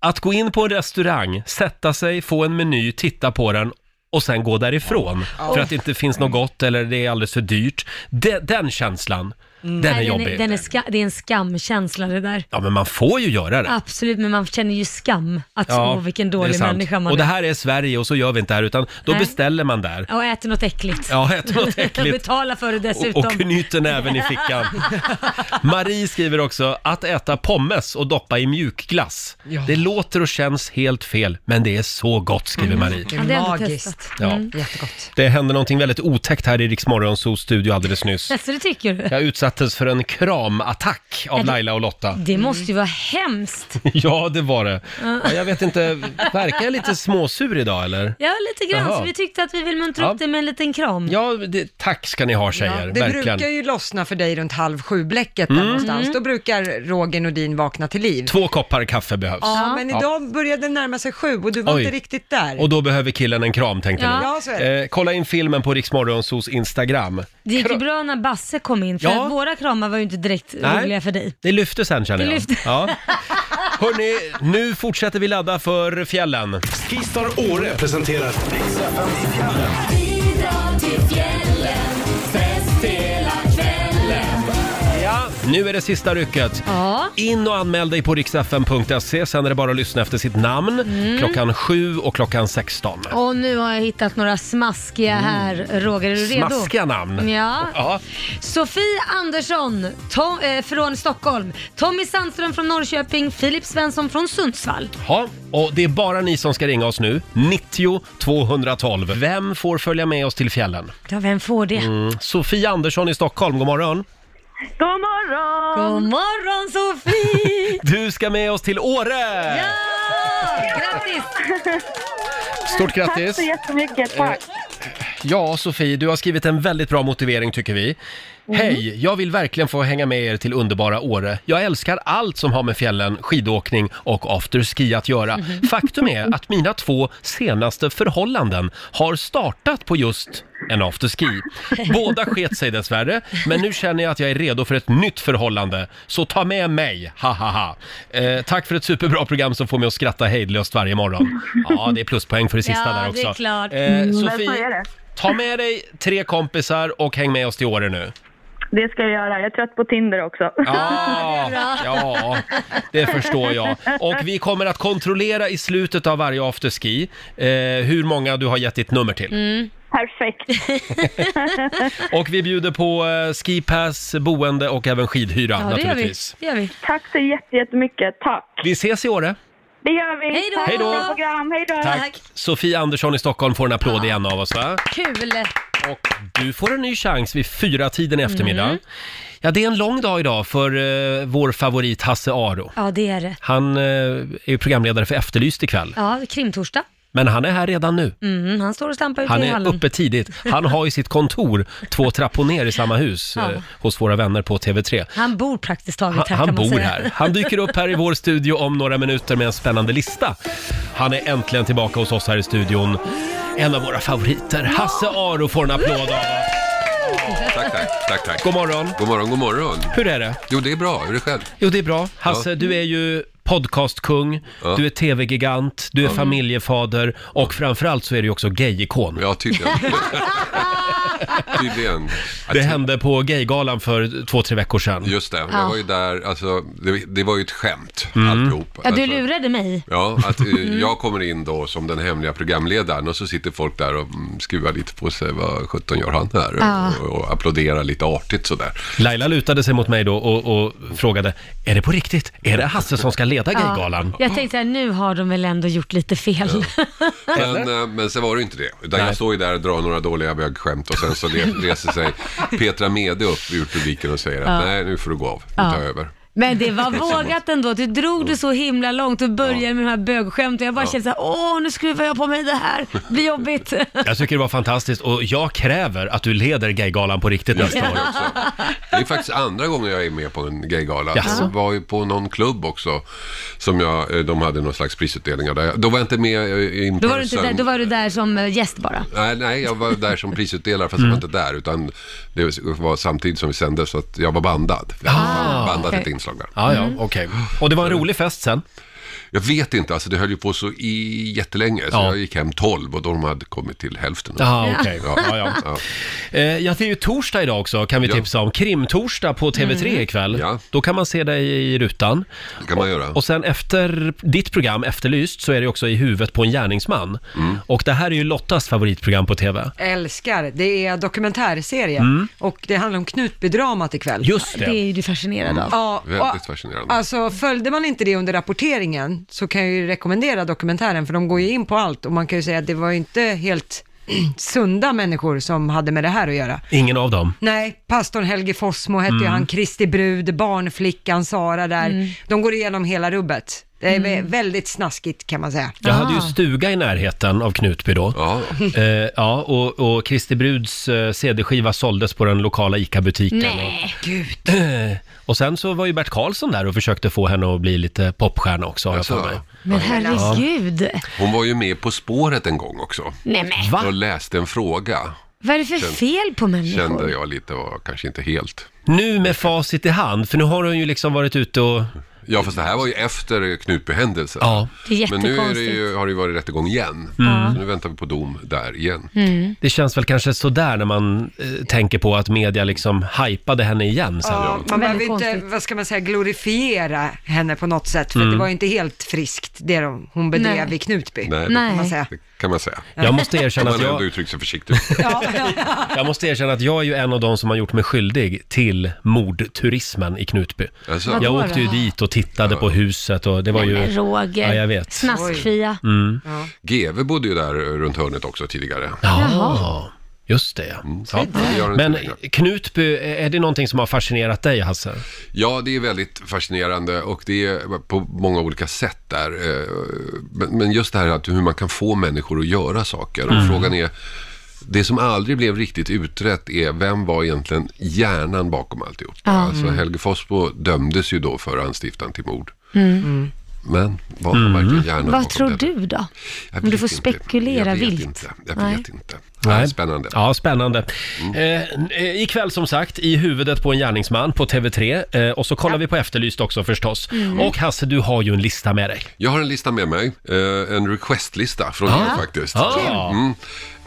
Speaker 1: att gå in på en restaurang, sätta sig, få en meny, titta på den och sen gå därifrån för att det inte finns något gott eller det är alldeles för dyrt. De, den känslan, Den är
Speaker 2: Mm. Nej,
Speaker 1: jobbig.
Speaker 2: Den är ska, det är en skamkänsla det där.
Speaker 1: Ja, men man får ju göra det.
Speaker 2: Absolut, men man känner ju skam att så, åh, vilken
Speaker 1: det är
Speaker 2: dålig
Speaker 1: sant.
Speaker 2: människa man
Speaker 1: Och det
Speaker 2: är.
Speaker 1: här är Sverige och så gör vi inte det här utan då
Speaker 2: Nej.
Speaker 1: beställer man där.
Speaker 2: Ja, Och äter något äckligt.
Speaker 1: Ja, äter något äckligt.
Speaker 2: Betala för det
Speaker 1: Och,
Speaker 2: dessutom.
Speaker 1: och knyter näven i fickan. Marie skriver också, att äta pommes och doppa i mjukglass.
Speaker 3: Ja.
Speaker 1: Det låter och känns helt fel, men det är så gott, skriver Marie.
Speaker 3: Det
Speaker 2: Ja, det
Speaker 3: är
Speaker 2: har jag inte
Speaker 3: magiskt.
Speaker 2: testat.
Speaker 1: Ja.
Speaker 2: Mm.
Speaker 3: Jättegott.
Speaker 1: Det hände någonting väldigt otäckt här i Rix Morgonzoos studio alldeles nyss.
Speaker 2: Alltså, det tycker du?
Speaker 1: Jag utsattes för en kramattack av
Speaker 2: Är det-
Speaker 1: Laila och Lotta.
Speaker 2: Det måste ju vara hemskt.
Speaker 1: Ja, det var det. Ja, jag vet inte, verkar jag lite småsur idag eller?
Speaker 2: Ja, lite grann.
Speaker 1: Jaha.
Speaker 2: Så vi tyckte att vi vill muntra
Speaker 1: Ja.
Speaker 2: upp dig med en liten kram.
Speaker 1: Ja, det, tack ska ni ha tjejer,
Speaker 3: det
Speaker 1: verkligen. Mm.
Speaker 3: brukar ju lossna för dig runt halv sju-bläcket där
Speaker 2: Mm.
Speaker 3: någonstans. Då brukar Roger Nordin vakna till liv.
Speaker 1: Två koppar kaffe behövs.
Speaker 3: Ja, men idag började det närma sig sju och du var
Speaker 1: Oj.
Speaker 3: inte riktigt där.
Speaker 1: Och då behöver killen en kram tänkte
Speaker 2: Ja.
Speaker 1: ni.
Speaker 3: Ja, så är det.
Speaker 1: Eh, kolla in filmen på Riksmorgonsos Instagram.
Speaker 2: Det gick ju
Speaker 1: Kra-
Speaker 2: bra när Basse kom in, för
Speaker 1: Ja.
Speaker 2: att våra kramar var ju inte direkt
Speaker 1: Nej.
Speaker 2: roliga för dig.
Speaker 1: Det lyfte sen känner
Speaker 2: Det
Speaker 1: jag.
Speaker 2: lyfte.
Speaker 1: Ja. Hörni, nu fortsätter vi ladda för fjällen.
Speaker 4: Skistar Åre presenterar
Speaker 1: Ja, nu är det sista rycket.
Speaker 2: Ja.
Speaker 1: In och anmäl dig på riksfn.se, sen är det bara att lyssna efter sitt namn
Speaker 2: Mm.
Speaker 1: klockan 7 och klockan 16.
Speaker 2: Och nu har jag hittat några smaskiga här. Roger, är du redo?
Speaker 1: Smaskiga namn.
Speaker 2: Ja.
Speaker 1: Ja.
Speaker 2: Sofie Andersson Tom, eh, från Stockholm, Tommy Sandström från Norrköping, Filip Svensson från Sundsvall.
Speaker 1: Ja, och det är bara ni som ska ringa oss nu. 90 212. Vem får följa med oss till fjällen?
Speaker 2: Ja, vem får det?
Speaker 1: Mm. Sofia Andersson i Stockholm, god morgon.
Speaker 8: God morgon!
Speaker 2: God morgon Sofie!
Speaker 1: Du ska med oss till Åre!
Speaker 2: ja! Grattis!
Speaker 1: Stort
Speaker 8: Tack
Speaker 1: grattis! Eh,
Speaker 8: så jättemycket, tack!
Speaker 1: Ja, Sofie, du har skrivit en väldigt bra motivering tycker vi.
Speaker 2: Mm.
Speaker 1: Hej, jag vill verkligen få hänga med er till underbara Åre. Jag älskar allt som har med fjällen, skidåkning och afterski att göra.
Speaker 2: Mm.
Speaker 1: Faktum är att mina två senaste förhållanden har startat på just en afterski. Båda sket sig dessvärre, men nu känner jag att jag är redo för ett nytt förhållande. Så ta med mig, ha ha ha. Eh, tack för ett superbra program som får mig att skratta hejdlöst varje morgon. Ja, det är pluspoäng för det sista
Speaker 2: Ja,
Speaker 1: där
Speaker 2: det
Speaker 1: också.
Speaker 2: är klart.
Speaker 1: Eh,
Speaker 8: Men så är
Speaker 1: Sofie,
Speaker 8: det.
Speaker 1: ta med dig tre kompisar och häng med oss till Åre nu.
Speaker 8: Det ska jag göra. Jag är trött på Tinder också.
Speaker 1: Ja, ja, det förstår jag. Och vi kommer att kontrollera i slutet av varje afterski eh, hur många du har gett ditt nummer till.
Speaker 8: Perfekt.
Speaker 1: Och vi bjuder på eh, skipass, boende och även skidhyra
Speaker 2: Ja, det gör vi.
Speaker 1: naturligtvis.
Speaker 2: Det gör vi.
Speaker 8: Tack så jätte- jättemycket. Tack.
Speaker 1: Vi ses i Åre.
Speaker 8: Det gör vi.
Speaker 2: Hej då.
Speaker 8: Tack
Speaker 2: Hej då.
Speaker 8: för ditt program. Hej då.
Speaker 1: Tack.
Speaker 2: Tack.
Speaker 1: Sofie Andersson i Stockholm får en applåd igen av oss va?
Speaker 2: Kul!
Speaker 1: Och du får en ny chans vid fyra tiden i eftermiddag. Ja, det är en lång dag idag för eh, vår favorit Hasse Aro.
Speaker 2: Ja, det är det.
Speaker 1: Han eh, är ju programledare för Efterlyst ikväll,
Speaker 2: Ja, krimtorsdag.
Speaker 1: men han är här redan nu.
Speaker 2: Mm, han står och stampar ute
Speaker 1: Han
Speaker 2: i hallen.
Speaker 1: är uppe tidigt. Han har ju sitt kontor två trappor ner i samma hus
Speaker 2: Ja.
Speaker 1: eh, hos våra vänner på TV3.
Speaker 2: Han bor praktiskt taget
Speaker 1: Han,
Speaker 2: här
Speaker 1: han
Speaker 2: kan man
Speaker 1: bor
Speaker 2: säga.
Speaker 1: här. Han dyker upp här i vår studio om några minuter med en spännande lista. Han är äntligen tillbaka hos oss här i studion. En av våra favoriter, Hasse Aro, får en applåd av oss.
Speaker 10: Tack, tack, tack, tack.
Speaker 1: God morgon!
Speaker 10: God morgon, god morgon.
Speaker 1: Hur är det?
Speaker 10: Jo, det är bra. Hur är det själv?
Speaker 1: Jo, det är bra. Hasse, du är ju podcastkung,
Speaker 10: Ja.
Speaker 1: du är tv-gigant, du är familjefader och framförallt så är du ju också gayikon.
Speaker 10: Ja, tydligen. tydligen.
Speaker 1: Det hände på gaygalan för två, tre veckor sedan.
Speaker 10: Just det,
Speaker 2: Ja.
Speaker 10: jag var ju där, alltså, det, det var ju ett skämt
Speaker 1: Mm.
Speaker 10: alltihop.
Speaker 2: Ja, du
Speaker 10: alltså,
Speaker 2: lurade mig.
Speaker 10: Ja, att eh,
Speaker 2: Mm.
Speaker 10: jag kommer in då som den hemliga programledaren och så sitter folk där och mm, skruvar lite på sig, vad 17 gör han här?
Speaker 2: Ja.
Speaker 10: Och, och applåderar lite artigt sådär.
Speaker 1: Laila lutade sig mot mig då och, och frågade, är det på riktigt? Är det Hasse som ska leda gaygalan?
Speaker 2: Jag tänkte så här, nu har de väl ändå gjort lite fel.
Speaker 10: Men, eh, men sen var det ju inte det. Utan
Speaker 1: Nej.
Speaker 10: jag står ju där och drar några dåliga bögskämt och sen så re- reser sig Petra Mede upp ur publiken och säger att nej, nu får du gå av. Nu tar jag över.
Speaker 2: Men det var vågat ändå. Du drog det så himla långt och började med de här bögskämten. Jag bara kände så här, åh nu skruvar jag på mig det här. Det blir jobbigt.
Speaker 1: Jag tycker det var fantastiskt och jag kräver att du leder gaygalan på riktigt nästa år.
Speaker 10: Det är faktiskt andra gången jag är med på en gaygala.
Speaker 1: Jaså?
Speaker 10: Jag var ju på någon klubb också. Som jag, eh, de hade någon slags prisutdelningar där. Då var jag inte med eh, in
Speaker 2: Då var, du inte
Speaker 10: person.
Speaker 2: där, då var du där som eh, gäst bara.
Speaker 10: Nej, nej, jag var där som prisutdelare fast
Speaker 1: Mm.
Speaker 10: jag var inte där utan det var samtidigt som vi sände
Speaker 1: Ah,
Speaker 10: så att jag var bandad. Jag hade bandat
Speaker 2: okej.
Speaker 10: ett inslag där.
Speaker 1: Ja, ja, okej. Och det var en rolig fest sen.
Speaker 10: Jag vet inte, alltså det höll ju på så i jättelänge. Så
Speaker 1: Ja.
Speaker 10: jag gick hem 12 och de hade kommit till hälften.
Speaker 1: Ja, okej. Ja, ja. Eh, ja, det är ju torsdag idag också, kan vi tipsa om. Krimtorsdag på TV3
Speaker 10: Mm.
Speaker 1: ikväll. Då kan man se dig i rutan.
Speaker 10: Det kan man göra.
Speaker 1: Och sen efter ditt program, Efterlyst, så är det också I huvudet på en gärningsman.
Speaker 10: Mm.
Speaker 1: Och det här är ju Lottas favoritprogram på TV.
Speaker 3: Älskar. Det är dokumentärserie
Speaker 1: Mm.
Speaker 3: och det handlar om Knutbydramat ikväll.
Speaker 1: Just det. Det är
Speaker 2: ju du fascinerad
Speaker 10: Mm.
Speaker 3: Ja, och,
Speaker 10: Väldigt fascinerande.
Speaker 3: alltså följde man inte det under rapporteringen så kan jag ju rekommendera dokumentären för de går ju in på allt och man kan ju säga att det var ju inte helt sunda människor som hade med det här att göra.
Speaker 1: Ingen av dem.
Speaker 3: Nej, pastorn Helge Fossmo hette ju
Speaker 1: Mm.
Speaker 3: han, Kristi brud, barnflickan Sara där.
Speaker 1: Mm.
Speaker 3: De går igenom hela rubbet. Det är vä- väldigt snaskigt kan man säga.
Speaker 1: Jag hade ju stuga i närheten av Knutby då.
Speaker 10: Ah. Ja.
Speaker 1: Eh, ja, och, och Christer Bruds eh, CD-skiva såldes på den lokala ICA-butiken.
Speaker 2: Nej.
Speaker 3: Gud.
Speaker 1: Eh, Och sen så var ju Bert Karlsson där och försökte få henne att bli lite popstjärna också, har jag för mig.
Speaker 2: Men herregud.
Speaker 10: Hon var ju med På spåret en gång också.
Speaker 2: Nej men.
Speaker 10: Och läste en fråga.
Speaker 2: Vad är det för
Speaker 10: Känn-
Speaker 2: fel på människor?
Speaker 10: Kände jag lite var kanske inte helt.
Speaker 1: Nu med facit i hand, för nu har hon ju liksom varit ute och...
Speaker 10: Ja, fast det här var ju efter Knutbyhändelsen.
Speaker 1: Ja.
Speaker 2: Det är
Speaker 10: Men nu är det
Speaker 2: jättekonstigt.
Speaker 10: ju, har det ju varit rättegång igen.
Speaker 1: Mm.
Speaker 10: Så nu väntar vi på dom där igen.
Speaker 1: Det känns väl kanske sådär när man eh, tänker på att media liksom hypade henne igen sen.
Speaker 3: Ja, man behöver ju inte, vad ska man säga, glorifiera henne på något sätt, för
Speaker 1: Mm.
Speaker 3: det var ju inte helt friskt det de- hon bedrev
Speaker 10: Nej.
Speaker 3: i Knutby.
Speaker 10: Nej, det-
Speaker 3: Kan man säga.
Speaker 10: Det kan man säga.
Speaker 1: Jag måste erkänna
Speaker 10: man
Speaker 1: att jag-
Speaker 10: ändå uttryckt sig försiktigt.
Speaker 1: Jag måste erkänna att jag är ju en av de som har gjort mig skyldig till mordturismen i Knutby.
Speaker 10: Alltså.
Speaker 1: Jag
Speaker 2: Vadå
Speaker 1: åkte ju
Speaker 2: då?
Speaker 1: dit och tittade på huset och det var
Speaker 2: Nej,
Speaker 1: ju...
Speaker 2: men Roger.
Speaker 1: Ja, jag vet.
Speaker 2: Snaskfia.
Speaker 1: Mm.
Speaker 10: GV bodde ju där eh, runt hörnet också tidigare.
Speaker 1: Jaha. Just Mm. det, ja.
Speaker 10: det gör det
Speaker 1: Men
Speaker 10: inte längre.
Speaker 1: Knutby, är det någonting som har fascinerat dig, Hasse?
Speaker 10: Ja, det är väldigt fascinerande och det är på många olika sätt där. Eh, Men men just det här att hur man kan få människor att göra saker. Och
Speaker 11: Mm.
Speaker 10: frågan är, det som aldrig blev riktigt utrett är vem var egentligen hjärnan bakom alltihop?
Speaker 11: Ja.
Speaker 10: Alltså
Speaker 11: Mm.
Speaker 10: Helge Fossbo dömdes ju då för anstiftan till mord.
Speaker 2: Mm.
Speaker 10: Men var han
Speaker 1: Mm.
Speaker 10: verkligen hjärnan bakom
Speaker 2: Vad tror
Speaker 10: detta?
Speaker 2: du då?
Speaker 10: Jag
Speaker 2: Om du
Speaker 10: vet
Speaker 2: får
Speaker 10: inte.
Speaker 2: spekulera
Speaker 10: Jag vet
Speaker 2: vilt.
Speaker 10: inte. Jag
Speaker 2: Nej.
Speaker 10: vet inte. Nej, spännande.
Speaker 1: Ja, spännande. Eh, eh, ikväll som sagt, i huvudet på en gärningsman på TV3. Eh, och så kollar vi på Efterlyst också förstås.
Speaker 10: Mm.
Speaker 1: Och Hasse, du har ju en lista med dig.
Speaker 10: Jag har en lista med mig, eh, en requestlista från
Speaker 1: Ja.
Speaker 10: er faktiskt.
Speaker 1: Ja.
Speaker 10: Mm.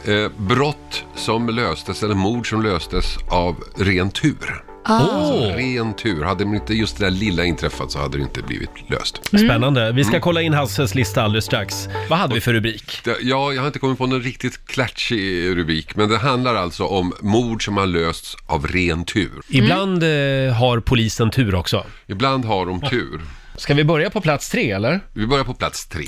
Speaker 10: Eh, brott som löstes eller mord som löstes av ren tur.
Speaker 1: Ah.
Speaker 10: Alltså, ren tur. Hade inte just det där lilla inträffat så hade det inte blivit löst.
Speaker 1: Spännande. Vi ska
Speaker 10: Mm.
Speaker 1: kolla in Hasses lista alldeles strax. Vad hade vi för rubrik?
Speaker 10: Det- Ja, jag har inte kommit på någon riktigt klatschig rubrik, men det handlar alltså om mord som har lösts av ren tur.
Speaker 1: Ibland eh, har polisen tur också.
Speaker 10: Ibland har de tur.
Speaker 1: Ska vi börja på plats tre eller?
Speaker 10: Vi börjar på plats tre.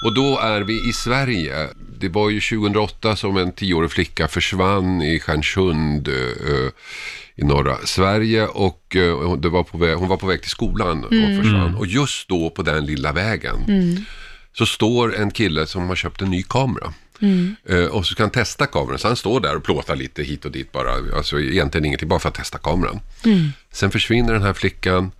Speaker 10: Och då är vi i Sverige. Det var ju 2008 som en tioårig flicka försvann i Stjärnsund eh, eh, i norra Sverige och eh, det var på väg, hon var på väg till skolan och
Speaker 11: Mm.
Speaker 10: försvann.
Speaker 11: Mm.
Speaker 10: Och just då på den lilla vägen
Speaker 11: Mm.
Speaker 10: så står en kille som har köpt en ny kamera.
Speaker 11: Mm.
Speaker 10: Eh, Och så ska han testa kameran, så han står där och plåtar lite hit och dit bara. Alltså egentligen ingenting, bara för att testa kameran.
Speaker 11: Mm.
Speaker 10: Sen försvinner den här flickan.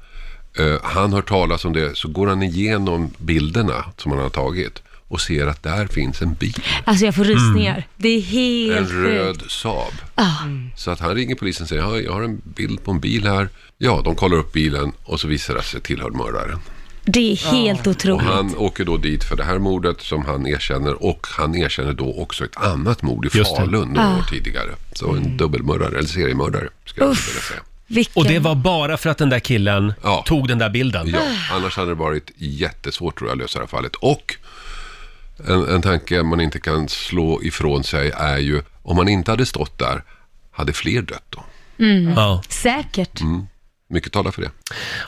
Speaker 10: Eh, han hör talas om det, så går han igenom bilderna som han har tagit och ser att där finns en bil.
Speaker 2: Alltså jag får
Speaker 1: Mm.
Speaker 2: rysningar. Det är helt
Speaker 10: En
Speaker 2: sjukt.
Speaker 10: röd Saab.
Speaker 2: Ah.
Speaker 10: Så att han ringer polisen och säger, "Ja, jag har en bild på en bil här. Ja, de kollar upp bilen och så visar det sig tillhör mördaren.
Speaker 2: Det är helt
Speaker 10: Och
Speaker 2: otroligt.
Speaker 10: han åker då dit för det här mordet som han erkänner och han erkänner då också ett annat mord i
Speaker 1: Just det.
Speaker 10: Falun några
Speaker 2: Ah. Mm.
Speaker 10: år tidigare. Så en dubbelmördare, eller seriemördare ska jag vilja säga.
Speaker 2: Vilken...
Speaker 1: Och det var bara för att den där killen tog den där bilden?
Speaker 10: Ja, annars hade det varit jättesvårt tror jag att lösa det här fallet. Och en, en tanke man inte kan slå ifrån sig är ju om man inte hade stått där, hade fler dött då?
Speaker 2: Mm.
Speaker 1: Ja.
Speaker 2: Säkert.
Speaker 10: Mm. Mycket talar för det.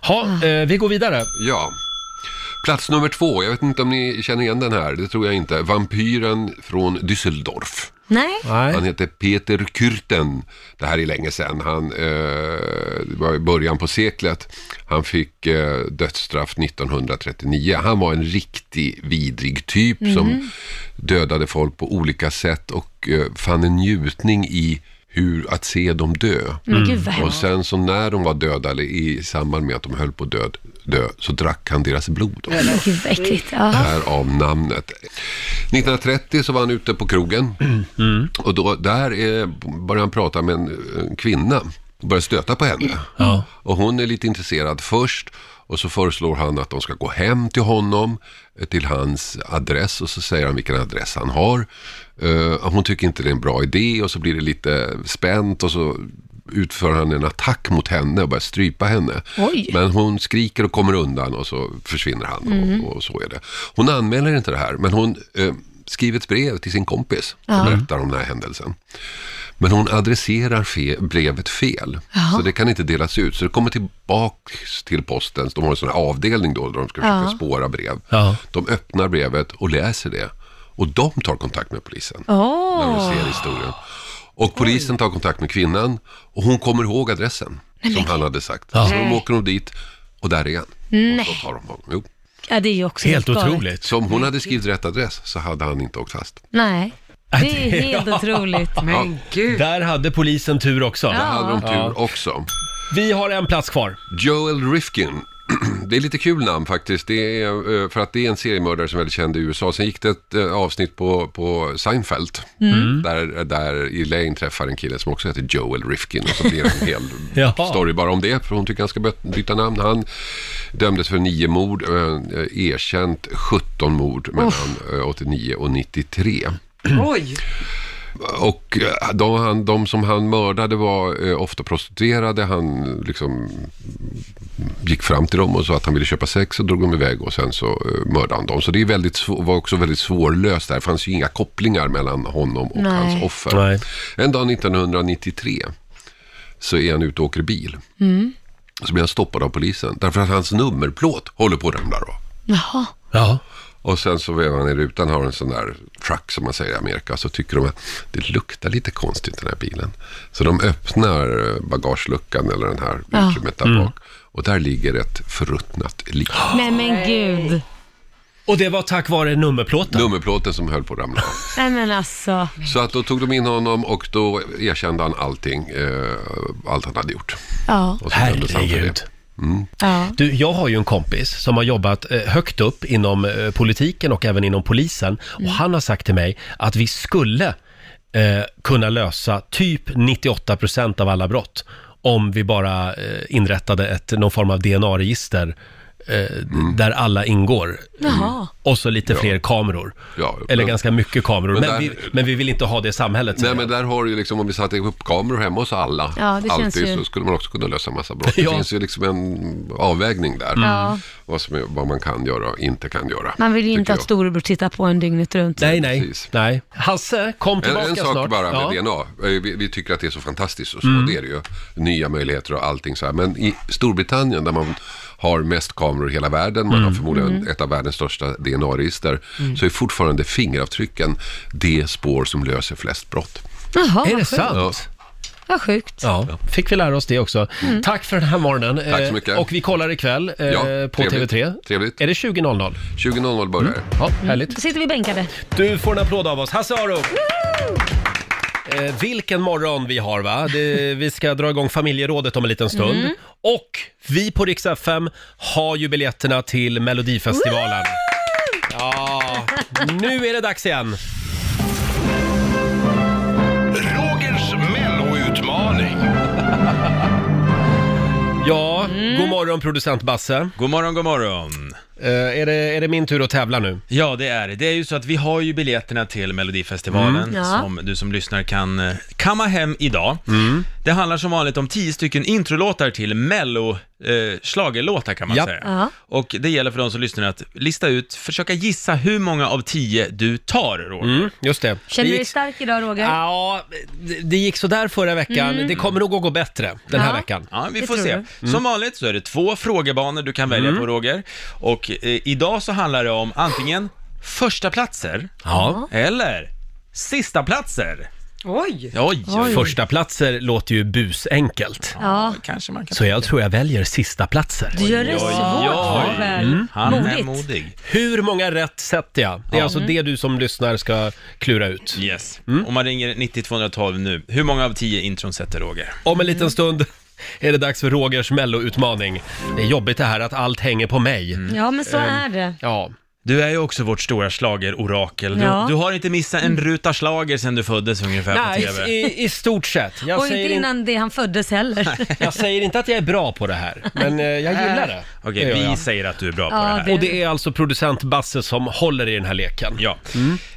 Speaker 1: Ha, eh, vi går vidare.
Speaker 10: Ja. Plats nummer två, jag vet inte om ni känner igen den här, det tror jag inte. Vampyren från Düsseldorf.
Speaker 2: Nej.
Speaker 10: Han heter Peter Kürten. Det här är länge sedan. Han, eh, det var i början på seklet. Han fick eh, dödsstraff 1939. Han var en riktig vidrig typ
Speaker 11: Mhm.
Speaker 10: som dödade folk på olika sätt och eh, fann en njutning i hur att se dem dö.
Speaker 1: Mm.
Speaker 11: Men gud, vad hemskt.
Speaker 10: Och sen så när de var döda, eller i samband med att de höll på att död, dö, så drack han deras blod.
Speaker 2: Gud vad äckligt. Ja.
Speaker 10: Därav namnet. 1930 så var han ute på krogen. Och då, där eh, började han prata med en, en kvinna och börjar stöta på henne.
Speaker 1: Ja.
Speaker 10: Och hon är lite intresserad först och så föreslår han att de ska gå hem till honom, eh, till hans adress och så säger han vilken adress han har. Eh, hon tycker inte det är en bra idé och så blir det lite spänt och så utför han en attack mot henne och börjar strypa henne.
Speaker 5: Oj.
Speaker 10: Men hon skriker och kommer undan och så försvinner han
Speaker 5: Mm.
Speaker 10: och, och så är det. Hon anmäler inte det här men hon eh, skriver ett brev till sin kompis och
Speaker 5: Ja.
Speaker 10: berättar om den här händelsen. Men hon adresserar fe- brevet fel.
Speaker 5: Jaha.
Speaker 10: Så det kan inte delas ut. Så det kommer tillbaks till posten. De har en sån här avdelning då där de ska
Speaker 5: Ja.
Speaker 10: försöka spåra brev. De öppnar brevet och läser det. Och de tar kontakt med polisen. När de
Speaker 5: Åh.
Speaker 10: ser historien. Och polisen tar kontakt med kvinnan. Och hon kommer ihåg adressen. som han hade sagt. Så de
Speaker 2: Nej.
Speaker 10: åker nog dit och där är han. Och
Speaker 2: Nej,
Speaker 10: så tar de honom. Jo.
Speaker 2: ja, det är ju också galet.
Speaker 10: Så om hon hade skrivit rätt adress så hade han inte åkt fast.
Speaker 2: Nej, det är helt otroligt.
Speaker 1: gud. Där hade polisen tur också.
Speaker 2: Ja.
Speaker 10: Där hade de tur
Speaker 1: Ja.
Speaker 10: också.
Speaker 1: Vi har en plats kvar.
Speaker 10: Joel Rifkin. Det är lite kul namn faktiskt, det är, eh, för att det är en seriemördare som är väldigt känd i USA. Sen gick det ett eh, avsnitt på, på Seinfeld,
Speaker 5: Mm.
Speaker 10: där, där Elaine träffar en kille som också heter Joel Rifkin. Och så blir det en hel
Speaker 5: Jaha.
Speaker 10: story bara om det, för hon tycker han ska byt- byta namn. Han dömdes för nio mord, eh, eh, erkänt 17 mord mellan eh, 89 och 93.
Speaker 9: Mm.
Speaker 3: Oj!
Speaker 10: Och eh, de, han, de som han mördade var eh, ofta prostituerade. Han eh, liksom gick fram till dem och sa att han ville köpa sex och drog dem iväg och sen så eh, mördade han dem. Så det är väldigt, svå- var också väldigt svårlöst där. Det fanns ju inga kopplingar mellan honom och
Speaker 5: Nej.
Speaker 10: hans offer. En dag 1993 så är han ute och åker bil.
Speaker 5: Mm.
Speaker 10: Så blir han stoppad av polisen därför att hans nummerplåt håller på att ramla av.
Speaker 2: Jaha.
Speaker 1: Ja.
Speaker 10: Och sen så vevar han i rutan, har en sån där truck som man säger i Amerika. Så tycker de att det luktar lite konstigt i den här bilen. Så de öppnar eh, bagageluckan eller den här
Speaker 2: Ja.
Speaker 10: utrymmet där bak. Och där ligger ett förruttnat lik.
Speaker 2: Nej men gud.
Speaker 1: Och det var tack vare nummerplåten?
Speaker 10: Nummerplåten som höll på att ramla av.
Speaker 2: Nej men alltså.
Speaker 10: Så att då tog de in honom och då erkände han allting, eh, allt han hade gjort.
Speaker 2: Ja.
Speaker 10: Och så dömdes han för det.
Speaker 1: Herregud.
Speaker 10: Mm.
Speaker 2: Ja.
Speaker 1: Du, jag har ju en kompis som har jobbat eh, högt upp inom eh, politiken och även inom polisen.
Speaker 2: Mm.
Speaker 1: Och han har sagt till mig att vi skulle eh, kunna lösa typ 98% av alla brott om vi bara eh, inrättade ett, någon form av DNA-register eh,
Speaker 10: Mm.
Speaker 1: där alla ingår. Mm.
Speaker 2: Jaha.
Speaker 1: Och så lite fler kameror. Eller
Speaker 10: men-
Speaker 1: ganska mycket kameror. Men,
Speaker 10: Men där-
Speaker 1: vi, men vi vill inte ha det samhället.
Speaker 10: Nej men där har du ju liksom, om vi satte upp kameror hemma hos alla,
Speaker 2: Ja, det känns
Speaker 10: alltid,
Speaker 2: ju-
Speaker 10: så skulle man också kunna lösa massa brott.
Speaker 1: Ja.
Speaker 10: Det finns ju liksom en avvägning där,
Speaker 2: Ja.
Speaker 10: vad, som är, vad man kan göra och inte kan göra.
Speaker 2: Man vill ju inte att storebror tittar på en dygnet runt.
Speaker 1: Nej, nej. nej. Hasse, kom
Speaker 10: En,
Speaker 1: tillbaka
Speaker 10: en sak
Speaker 1: snart.
Speaker 10: bara med
Speaker 1: Ja.
Speaker 10: DNA. Eh, Vi, vi tycker att det är så fantastiskt och så,
Speaker 1: Mm.
Speaker 10: det är det ju. Nya möjligheter och allting så här. Men i Storbritannien där man har mest kameror i hela världen, man har
Speaker 5: Mm.
Speaker 10: förmodligen
Speaker 5: Mm.
Speaker 10: ett av världens största DNA-register,
Speaker 5: Mm.
Speaker 10: så är fortfarande fingeravtrycken det spår som löser flest brott.
Speaker 2: Jaha,
Speaker 1: Är
Speaker 2: vad
Speaker 1: det
Speaker 2: sjukt.
Speaker 1: sant?
Speaker 2: Vad sjukt.
Speaker 1: Ja, fick vi lära oss det också.
Speaker 2: Mm.
Speaker 1: Tack för den här morgonen.
Speaker 10: Tack
Speaker 1: Eh,
Speaker 10: så mycket.
Speaker 1: Och vi kollar ikväll eh,
Speaker 10: Ja,
Speaker 1: på
Speaker 10: trevligt.
Speaker 1: TV3.
Speaker 10: Trevligt.
Speaker 1: Är det 20.00?
Speaker 10: 20.00 börjar det.
Speaker 1: Ja, härligt.
Speaker 2: Då sitter vi bänkade.
Speaker 1: Du får en applåd av oss. Hasse Aro! Eh, vilken morgon vi har va? Det, vi ska dra igång familjerådet om en liten stund.
Speaker 5: Mm.
Speaker 1: Och vi på Rix FM har ju biljetterna till Melodifestivalen. Ja, nu är det dags igen.
Speaker 4: Rogers melloutmaning.
Speaker 1: Ja, god morgon producent Basse. God morgon, god morgon. är, det, är det min tur att tävla nu?
Speaker 9: Ja, det är det. Det är ju så att vi har ju biljetterna till Melodifestivalen
Speaker 1: Mm. Ja.
Speaker 9: som du som lyssnar kan eh, kamma hem idag.
Speaker 1: Mm.
Speaker 9: Det handlar som vanligt om tio stycken introlåtar till mello eh, slagerlåtar kan man
Speaker 5: Japp.
Speaker 9: säga.
Speaker 5: Ja.
Speaker 9: Och det gäller för de som lyssnar att lista ut, försöka gissa hur många av tio du tar, Roger.
Speaker 1: Mm, just det.
Speaker 2: Känner du
Speaker 9: Det
Speaker 2: dig
Speaker 9: gick-
Speaker 2: stark idag Roger?
Speaker 1: Ja, det- det gick sådär förra veckan.
Speaker 2: Mm.
Speaker 1: Det kommer nog att gå bättre den här
Speaker 9: Ja.
Speaker 1: veckan.
Speaker 9: Ja, vi
Speaker 1: Det
Speaker 9: får
Speaker 1: tror
Speaker 9: se.
Speaker 1: jag. Mm.
Speaker 9: Som vanligt så är det två frågebanor du kan välja
Speaker 1: Mm.
Speaker 9: på Roger. Och eh, idag så handlar det om antingen första platser
Speaker 1: Ja.
Speaker 9: eller sista platser.
Speaker 3: Oj!
Speaker 9: Oj, oj.
Speaker 1: Första platser låter ju busenkelt.
Speaker 2: Ja.
Speaker 9: Kanske man kan
Speaker 1: Så jag tror jag väljer sista platser.
Speaker 2: Du gör det
Speaker 9: Oj,
Speaker 2: svårt
Speaker 9: oj.
Speaker 2: för väl.
Speaker 1: Mm.
Speaker 9: Han är Modigt. modig.
Speaker 1: Hur många rätt sätter jag? Det är
Speaker 9: Ja.
Speaker 1: alltså
Speaker 9: Mm.
Speaker 1: det du som lyssnar ska klura ut.
Speaker 9: Yes. Mm. Om man ringer 90-212 nu, hur många av 10 intron sätter Roger?
Speaker 1: Om en liten stund är det dags för Rogers melloutmaning. Det är jobbigt det här att allt hänger på mig.
Speaker 2: Ja, men så
Speaker 1: Ehm,
Speaker 2: är det.
Speaker 1: Ja.
Speaker 9: Du är ju också vårt stora schlagerorakel.
Speaker 2: Ja.
Speaker 9: Du, du har inte missat en ruta schlager sedan du föddes ungefär
Speaker 1: Nej,
Speaker 9: på TV.
Speaker 1: i, i stort sett. Jag
Speaker 2: och
Speaker 1: säger
Speaker 2: inte
Speaker 1: in-
Speaker 2: innan det han föddes heller.
Speaker 1: Jag säger inte att jag är bra på det här, men eh, jag gillar det.
Speaker 9: Okej,
Speaker 1: Det gör
Speaker 9: vi
Speaker 1: jag.
Speaker 9: säger att du är bra på
Speaker 2: Ja,
Speaker 9: det här.
Speaker 2: det-
Speaker 1: Och det är alltså producent Basse som håller i den här leken.
Speaker 9: Ja.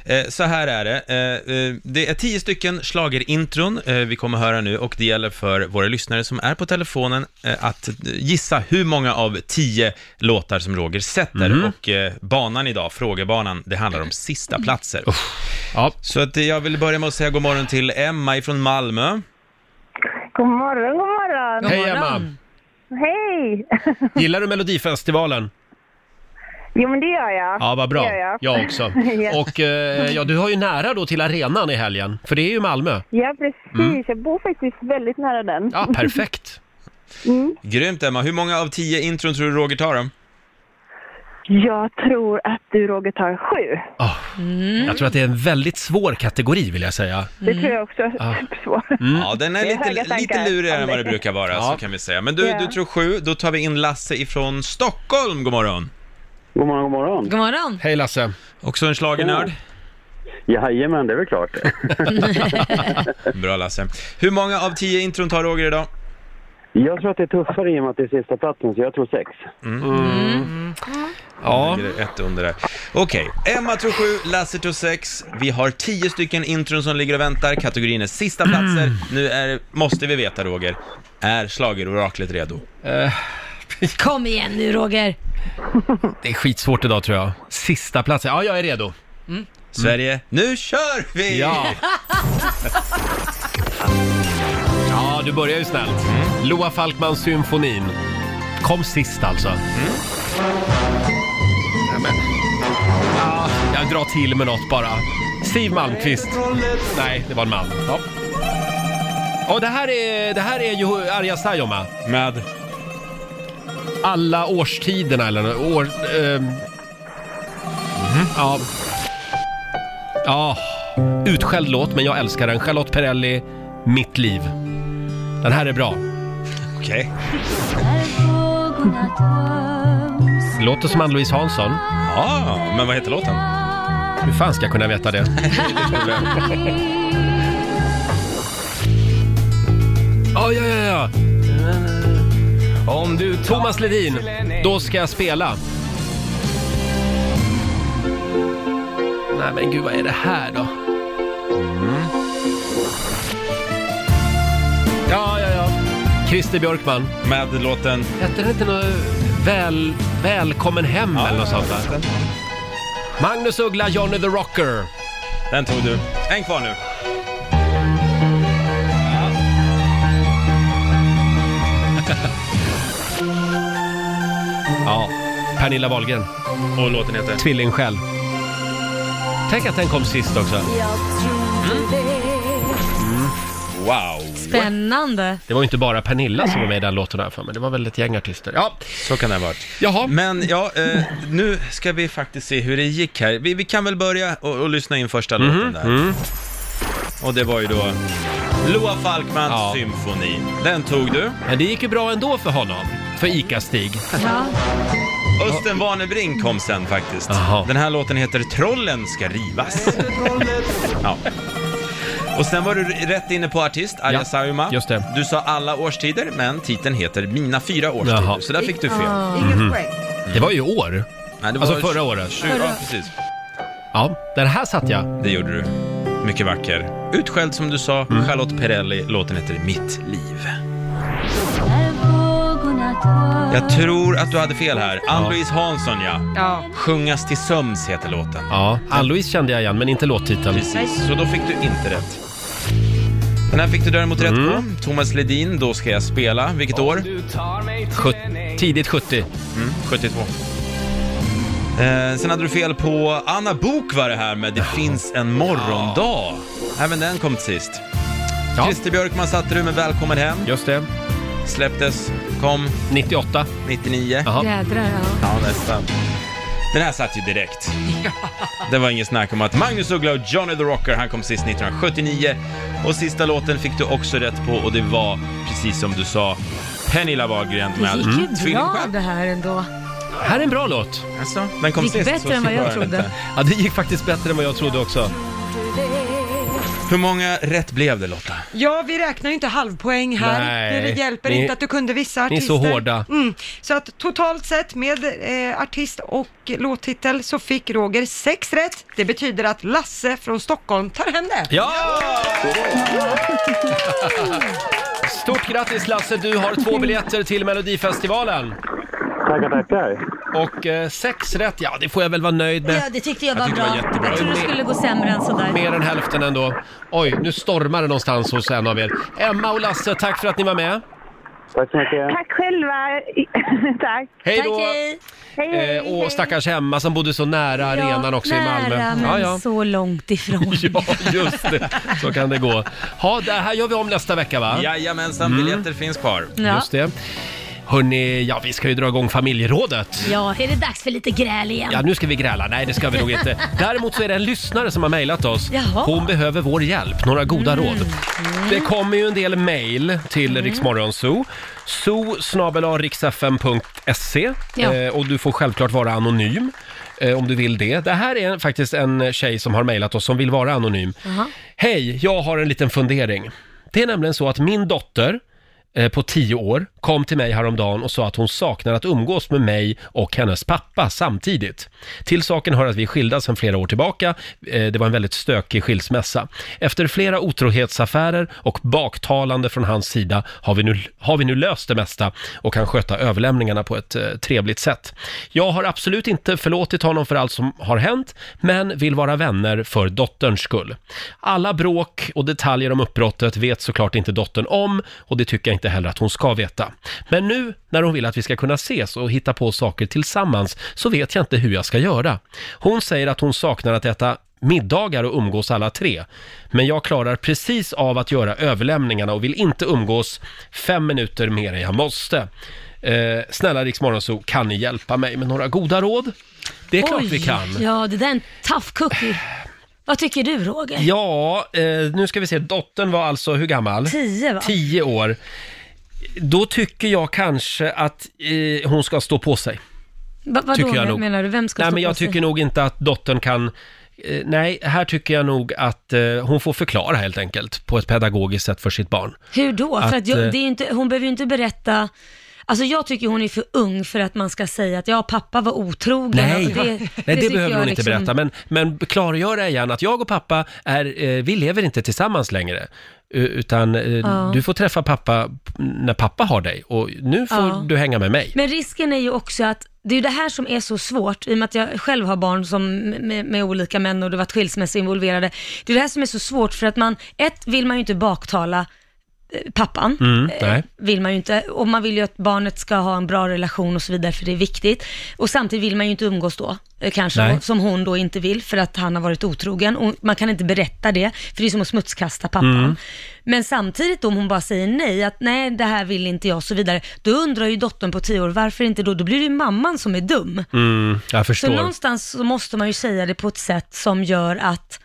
Speaker 9: Eh, Så här är det. Eh, eh, Det är tio stycken schlagerintron eh, vi kommer höra nu och det gäller för våra lyssnare som är på telefonen eh, att eh, gissa hur många av tio låtar som Roger sätter.
Speaker 1: Mm.
Speaker 9: Och eh, banan idag, frågebanan, det handlar om sista platser.
Speaker 1: Ja.
Speaker 9: Så att eh, jag vill börja med att säga god morgon till Emma ifrån Malmö.
Speaker 11: God morgon, god morgon.
Speaker 1: Hej Emma!
Speaker 11: Hej!
Speaker 1: Gillar du Melodifestivalen?
Speaker 11: Jo, men det gör jag.
Speaker 1: Ja, vad
Speaker 11: Det
Speaker 1: bra.
Speaker 11: gör jag.
Speaker 1: Jag också.
Speaker 11: ja.
Speaker 1: Och eh, ja, du har ju nära då till arenan i helgen, för det är ju Malmö.
Speaker 11: ja, precis.
Speaker 1: Mm.
Speaker 11: Jag bor faktiskt väldigt nära den.
Speaker 1: Ja, perfekt.
Speaker 11: Mm.
Speaker 9: Grymt Emma, hur många av tio intron tror du Roger tar då?
Speaker 1: Mm.
Speaker 11: Jag tror att du, Roger, tar sju.
Speaker 1: Ah. Jag tror att det är en väldigt svår kategori vill jag säga.
Speaker 11: Det tror jag också.
Speaker 1: Ja.
Speaker 9: Ja, den är
Speaker 11: Det är höga
Speaker 9: lite,
Speaker 11: tankar
Speaker 9: lite lurigare än vad det
Speaker 11: om det.
Speaker 9: brukar vara, så
Speaker 1: Ja.
Speaker 9: kan vi säga. Men du,
Speaker 11: Ja.
Speaker 9: du tror sju, då tar vi in Lasse ifrån Stockholm, god morgon.
Speaker 12: God morgon, god morgon.
Speaker 2: God morgon.
Speaker 1: Hej Lasse! Oh.
Speaker 9: Också en schlagernörd.
Speaker 12: Jajamän, det är väl klart.
Speaker 9: Bra Lasse. Hur många av tio intron tar Roger idag?
Speaker 12: Jag tror att det är tuffare i och med att det är sista platsen, så jag tror sex.
Speaker 9: Ja. Det är ett under där. Okej, Emma tror sju, Lasse tror sex. Vi har tio stycken intron som ligger och väntar. Kategorin är sista platser. Nu är, måste vi veta Roger, är schlageroraklet redo?
Speaker 2: Kom igen nu Roger.
Speaker 1: Det är skitsvårt idag tror jag. Sista platsen. Ja, jag är redo.
Speaker 9: Sverige, nu kör vi!
Speaker 1: Ja. Ja, du börjar ju snällt. Loa Falkmans symfonin. Kom sist alltså. Nämen. Ja, jag drar till med något bara. Siw Malmkvist. Nej, det var en man. Ja. Och det här är, det här är ju Arja Saijonmaa.
Speaker 9: Med?
Speaker 1: Alla årstiderna eller nå- år... ehm. Ja. Ja, utskälld låt men jag älskar den. Charlotte Perrelli, Mitt liv. Den här är bra.
Speaker 9: Okej.
Speaker 1: Låter som Ann-Louise Hansson.
Speaker 9: Ja, men vad heter låten?
Speaker 1: Hur fan ska jag kunna veta det? Ja, ja, ja, ja. Om du Thomas Ledin, då ska jag spela. Nej men gud, vad är det här då? Mm. Ja, ja, ja. Christer Björkman.
Speaker 9: Med låten?
Speaker 1: Hette det inte något väl, Välkommen hem eller något sånt där? Magnus Uggla, Johnny the Rocker.
Speaker 9: Den tog du. En kvar nu.
Speaker 1: Ja, Pernilla Wahlgren.
Speaker 9: Och låten heter?
Speaker 1: Tvillingsjäl. Tänk att den kom sist också. Mm.
Speaker 9: Wow!
Speaker 2: Spännande.
Speaker 1: Det var ju inte bara Pernilla som var med i den låten här för mig. Det var väl ett gäng artister. Ja,
Speaker 9: Så kan det ha varit.
Speaker 1: jaha.
Speaker 9: Men ja, eh, nu ska vi faktiskt se hur det gick här. Vi, vi kan väl börja och, och lyssna in första låten där. Och det var ju då Loa Falkmans
Speaker 1: Ja.
Speaker 9: symfoni. Den tog du.
Speaker 1: Men det gick ju bra ändå för honom. För ICA-Stig.
Speaker 2: Ja.
Speaker 9: Östen Warnerbring kom sen faktiskt.
Speaker 1: Jaha.
Speaker 9: Den här låten heter Trollen ska rivas. ja. Och sen var du rätt inne på artist, Arja
Speaker 1: Ja,
Speaker 9: Saijonmaa.
Speaker 1: just det.
Speaker 9: Du sa alla årstider, men titeln heter Mina fyra årstider.
Speaker 1: Jaha.
Speaker 9: Så där fick du fel.
Speaker 3: Inget poäng.
Speaker 1: Det var ju i år.
Speaker 9: Nej, det
Speaker 1: Alltså förra året.
Speaker 9: Tju- Ja, precis.
Speaker 1: Ja, den här satt jag.
Speaker 9: Det gjorde du. Mycket vacker. Utskälld som du sa,
Speaker 1: Mm.
Speaker 9: Charlotte Perrelli. Låten heter Mitt liv. Jag tror att du hade fel här. Ann-Louise Hansson, ja.
Speaker 3: Ja.
Speaker 9: Sjungas till sömns heter låten.
Speaker 1: Ja, Ann-Louise kände jag igen men inte låttiteln.
Speaker 9: Precis, så då fick du inte rätt. Den här fick du däremot rätt på. Thomas Ledin, Då ska jag spela. Vilket år?
Speaker 1: Sjut- tidigt 70.
Speaker 9: 72. Eh, sen hade du fel på Anna Bok var det här med Det finns en morgondag. Nej, men den kom till sist.
Speaker 1: Ja.
Speaker 9: Christer Björkman satte du med Välkommen hem.
Speaker 1: Just det.
Speaker 9: Släpptes, kom
Speaker 1: 98.
Speaker 9: 99.
Speaker 1: Jaha.
Speaker 2: Jädrar ja.
Speaker 9: Ja, nästan. Den här satt ju direkt. Det var ingen snack om att Magnus Uggla och Johnny the Rocker, han kom sist 1979. Och sista låten fick du också rätt på och det var, precis som du sa, Pernilla Wahlgren
Speaker 2: Det
Speaker 9: med
Speaker 2: gick ju bra
Speaker 1: mm.
Speaker 9: Tvillingsjäl.
Speaker 2: det här ändå.
Speaker 1: Här är en bra låt.
Speaker 9: Alltså, den
Speaker 2: kom Gick sist, bättre så än vad jag var den trodde. inte.
Speaker 1: Ja, det gick faktiskt bättre än vad jag trodde också.
Speaker 9: Hur många rätt blev det Lotta?
Speaker 3: Ja, vi räknar ju inte halvpoäng här.
Speaker 9: Nej,
Speaker 3: det hjälper
Speaker 9: ni-
Speaker 3: inte att du kunde vissa
Speaker 9: ni är
Speaker 3: artister.
Speaker 9: så hårda.
Speaker 3: Mm. Så att totalt sett med eh, artist och låttitel så fick Roger sex rätt. Det betyder att Lasse från Stockholm tar hem det.
Speaker 1: Ja! Stort grattis Lasse, du har två biljetter till Melodifestivalen. Tackar, tackar. Och eh, sex rätt, ja det får jag väl vara nöjd med.
Speaker 2: Ja, det tyckte jag var bra.
Speaker 1: jättebra.
Speaker 2: jag trodde det skulle gå sämre än sådär.
Speaker 1: Mer än hälften ändå. Oj, nu stormar det någonstans hos en av er. Emma och Lasse, tack för att ni var med. Tack så mycket.
Speaker 11: Tack själva. Tack.
Speaker 1: Hej då. Tack,
Speaker 11: hej.
Speaker 1: Eh, och stackars Emma som bodde så nära arenan också i Malmö.
Speaker 2: Nära, men
Speaker 1: ja, ja.
Speaker 2: så långt ifrån.
Speaker 1: ja, just det. Så kan det gå. Ha, det här gör vi om nästa vecka va?
Speaker 9: Jajamensan, biljetter finns kvar.
Speaker 2: Ja.
Speaker 1: Just det. Hörni, ja vi ska ju dra igång familjerådet.
Speaker 2: Ja, är det dags för lite gräl igen?
Speaker 1: Ja, nu ska vi gräla. Nej, det ska vi nog inte. Däremot så är det en lyssnare som har mejlat oss.
Speaker 2: Jaha.
Speaker 1: Hon behöver vår hjälp, några goda råd. Det kommer ju en del mejl till mm. Riksmorgonzoo. Zoo riksfm.se
Speaker 5: Ja.
Speaker 1: eh, och du får självklart vara anonym eh, om du vill det. Det här är faktiskt en tjej som har mejlat oss som vill vara anonym. Hej, jag har en liten fundering. Det är nämligen så att min dotter eh, på 10 år kom till mig häromdagen och sa att hon saknar att umgås med mig och hennes pappa samtidigt. Till saken hör att vi är skilda sedan flera år tillbaka. Eh, Det var en väldigt stökig skilsmässa. Efter flera otrohetsaffärer och baktalande från hans sida har vi nu, har vi nu löst det mesta och kan sköta överlämningarna på ett eh, trevligt sätt. Jag har absolut inte förlåtit honom för allt som har hänt, men vill vara vänner för dotterns skull. Alla bråk och detaljer om uppbrottet vet såklart inte dottern om och det tycker jag inte heller att hon ska veta. Men nu när hon vill att vi ska kunna ses och hitta på saker tillsammans så vet jag inte hur jag ska göra. Hon säger att hon saknar att äta middagar och umgås alla tre. Men jag klarar precis av att göra överlämningarna och vill inte umgås fem minuter mer än jag måste. Eh, snälla Rix så kan ni hjälpa mig med några goda råd? Det är klart
Speaker 2: Oj,
Speaker 1: vi kan.
Speaker 2: Ja, det där är en tough cookie. Vad tycker du Roger?
Speaker 1: Ja, eh, nu ska vi se. Dottern var alltså hur gammal?
Speaker 2: Tio, va?
Speaker 1: Tio år. Då tycker jag kanske att eh, hon ska stå på sig.
Speaker 2: Va, vadå
Speaker 1: tycker jag nog.
Speaker 2: menar du? Vem ska
Speaker 1: nej,
Speaker 2: stå
Speaker 1: men jag
Speaker 2: på sig?
Speaker 1: tycker nog inte att dottern kan... eh, Nej, här tycker jag nog att eh, hon får förklara helt enkelt på ett pedagogiskt sätt för sitt barn.
Speaker 2: Hur då?
Speaker 1: Att,
Speaker 2: för att jag,
Speaker 1: eh,
Speaker 2: det är ju inte, hon behöver ju inte berätta Alltså jag tycker hon är för ung för att man ska säga att ja, pappa var otrogen.
Speaker 1: Nej,
Speaker 2: alltså,
Speaker 1: nej, det,
Speaker 2: tycker
Speaker 1: behöver
Speaker 2: jag
Speaker 1: hon inte
Speaker 2: liksom-
Speaker 1: berätta. Men, men klargöra igen att jag och pappa, är, eh, vi lever inte tillsammans längre. U- Utan eh,
Speaker 2: Ja.
Speaker 1: du får träffa pappa när pappa har dig och nu får
Speaker 2: Ja.
Speaker 1: du hänga med mig.
Speaker 2: Men risken är ju också att, det är ju det här som är så svårt, i och med att jag själv har barn som, med, med olika män och det har varit skilsmässor involverade. Det är det här som är så svårt för att man, ett vill man ju inte baktala eh, pappan,
Speaker 5: Mm,
Speaker 2: Eh,
Speaker 5: nej.
Speaker 2: vill man ju inte, och man vill ju att barnet ska ha en bra relation och så vidare för det är viktigt. Och samtidigt vill man ju inte umgås då, eh, kanske,
Speaker 5: Nej.
Speaker 2: som hon då inte vill för att han har varit otrogen. Och man kan inte berätta det, för det är som att smutskasta pappan.
Speaker 5: Mm.
Speaker 2: Men samtidigt om hon bara säger nej, att nej det här vill inte jag och så vidare, då undrar ju dottern på tio år varför inte då? Då blir det ju mamman som är dum.
Speaker 1: Mm, jag förstår.
Speaker 2: Så någonstans så måste man ju säga det på ett sätt som gör att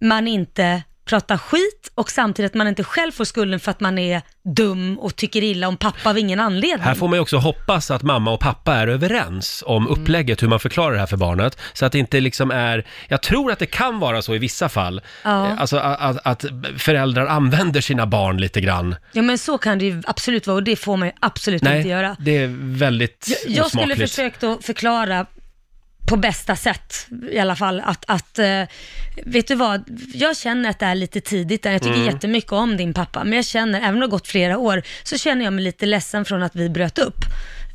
Speaker 2: man inte pratar skit och samtidigt att man inte själv får skulden för att man är dum och tycker illa om pappa av ingen anledning.
Speaker 1: Här får man ju också hoppas att mamma och pappa är överens om
Speaker 2: Mm.
Speaker 1: upplägget, hur man förklarar det här för barnet. Så att det inte liksom är, jag tror att det kan vara så i vissa fall,
Speaker 2: Ja.
Speaker 1: Eh, alltså att, att föräldrar använder sina barn lite grann.
Speaker 2: Ja men så kan det ju absolut vara och det får man ju absolut inte göra.
Speaker 1: det är väldigt
Speaker 2: Jag, jag skulle
Speaker 1: osmakligt.
Speaker 2: försökt att förklara på bästa sätt i alla fall att, att eh, vet du vad, jag känner att det är lite tidigt där. Jag tycker
Speaker 5: Mm.
Speaker 2: jättemycket om din pappa, men jag känner, även om det har gått flera år, så känner jag mig lite ledsen från att vi bröt upp.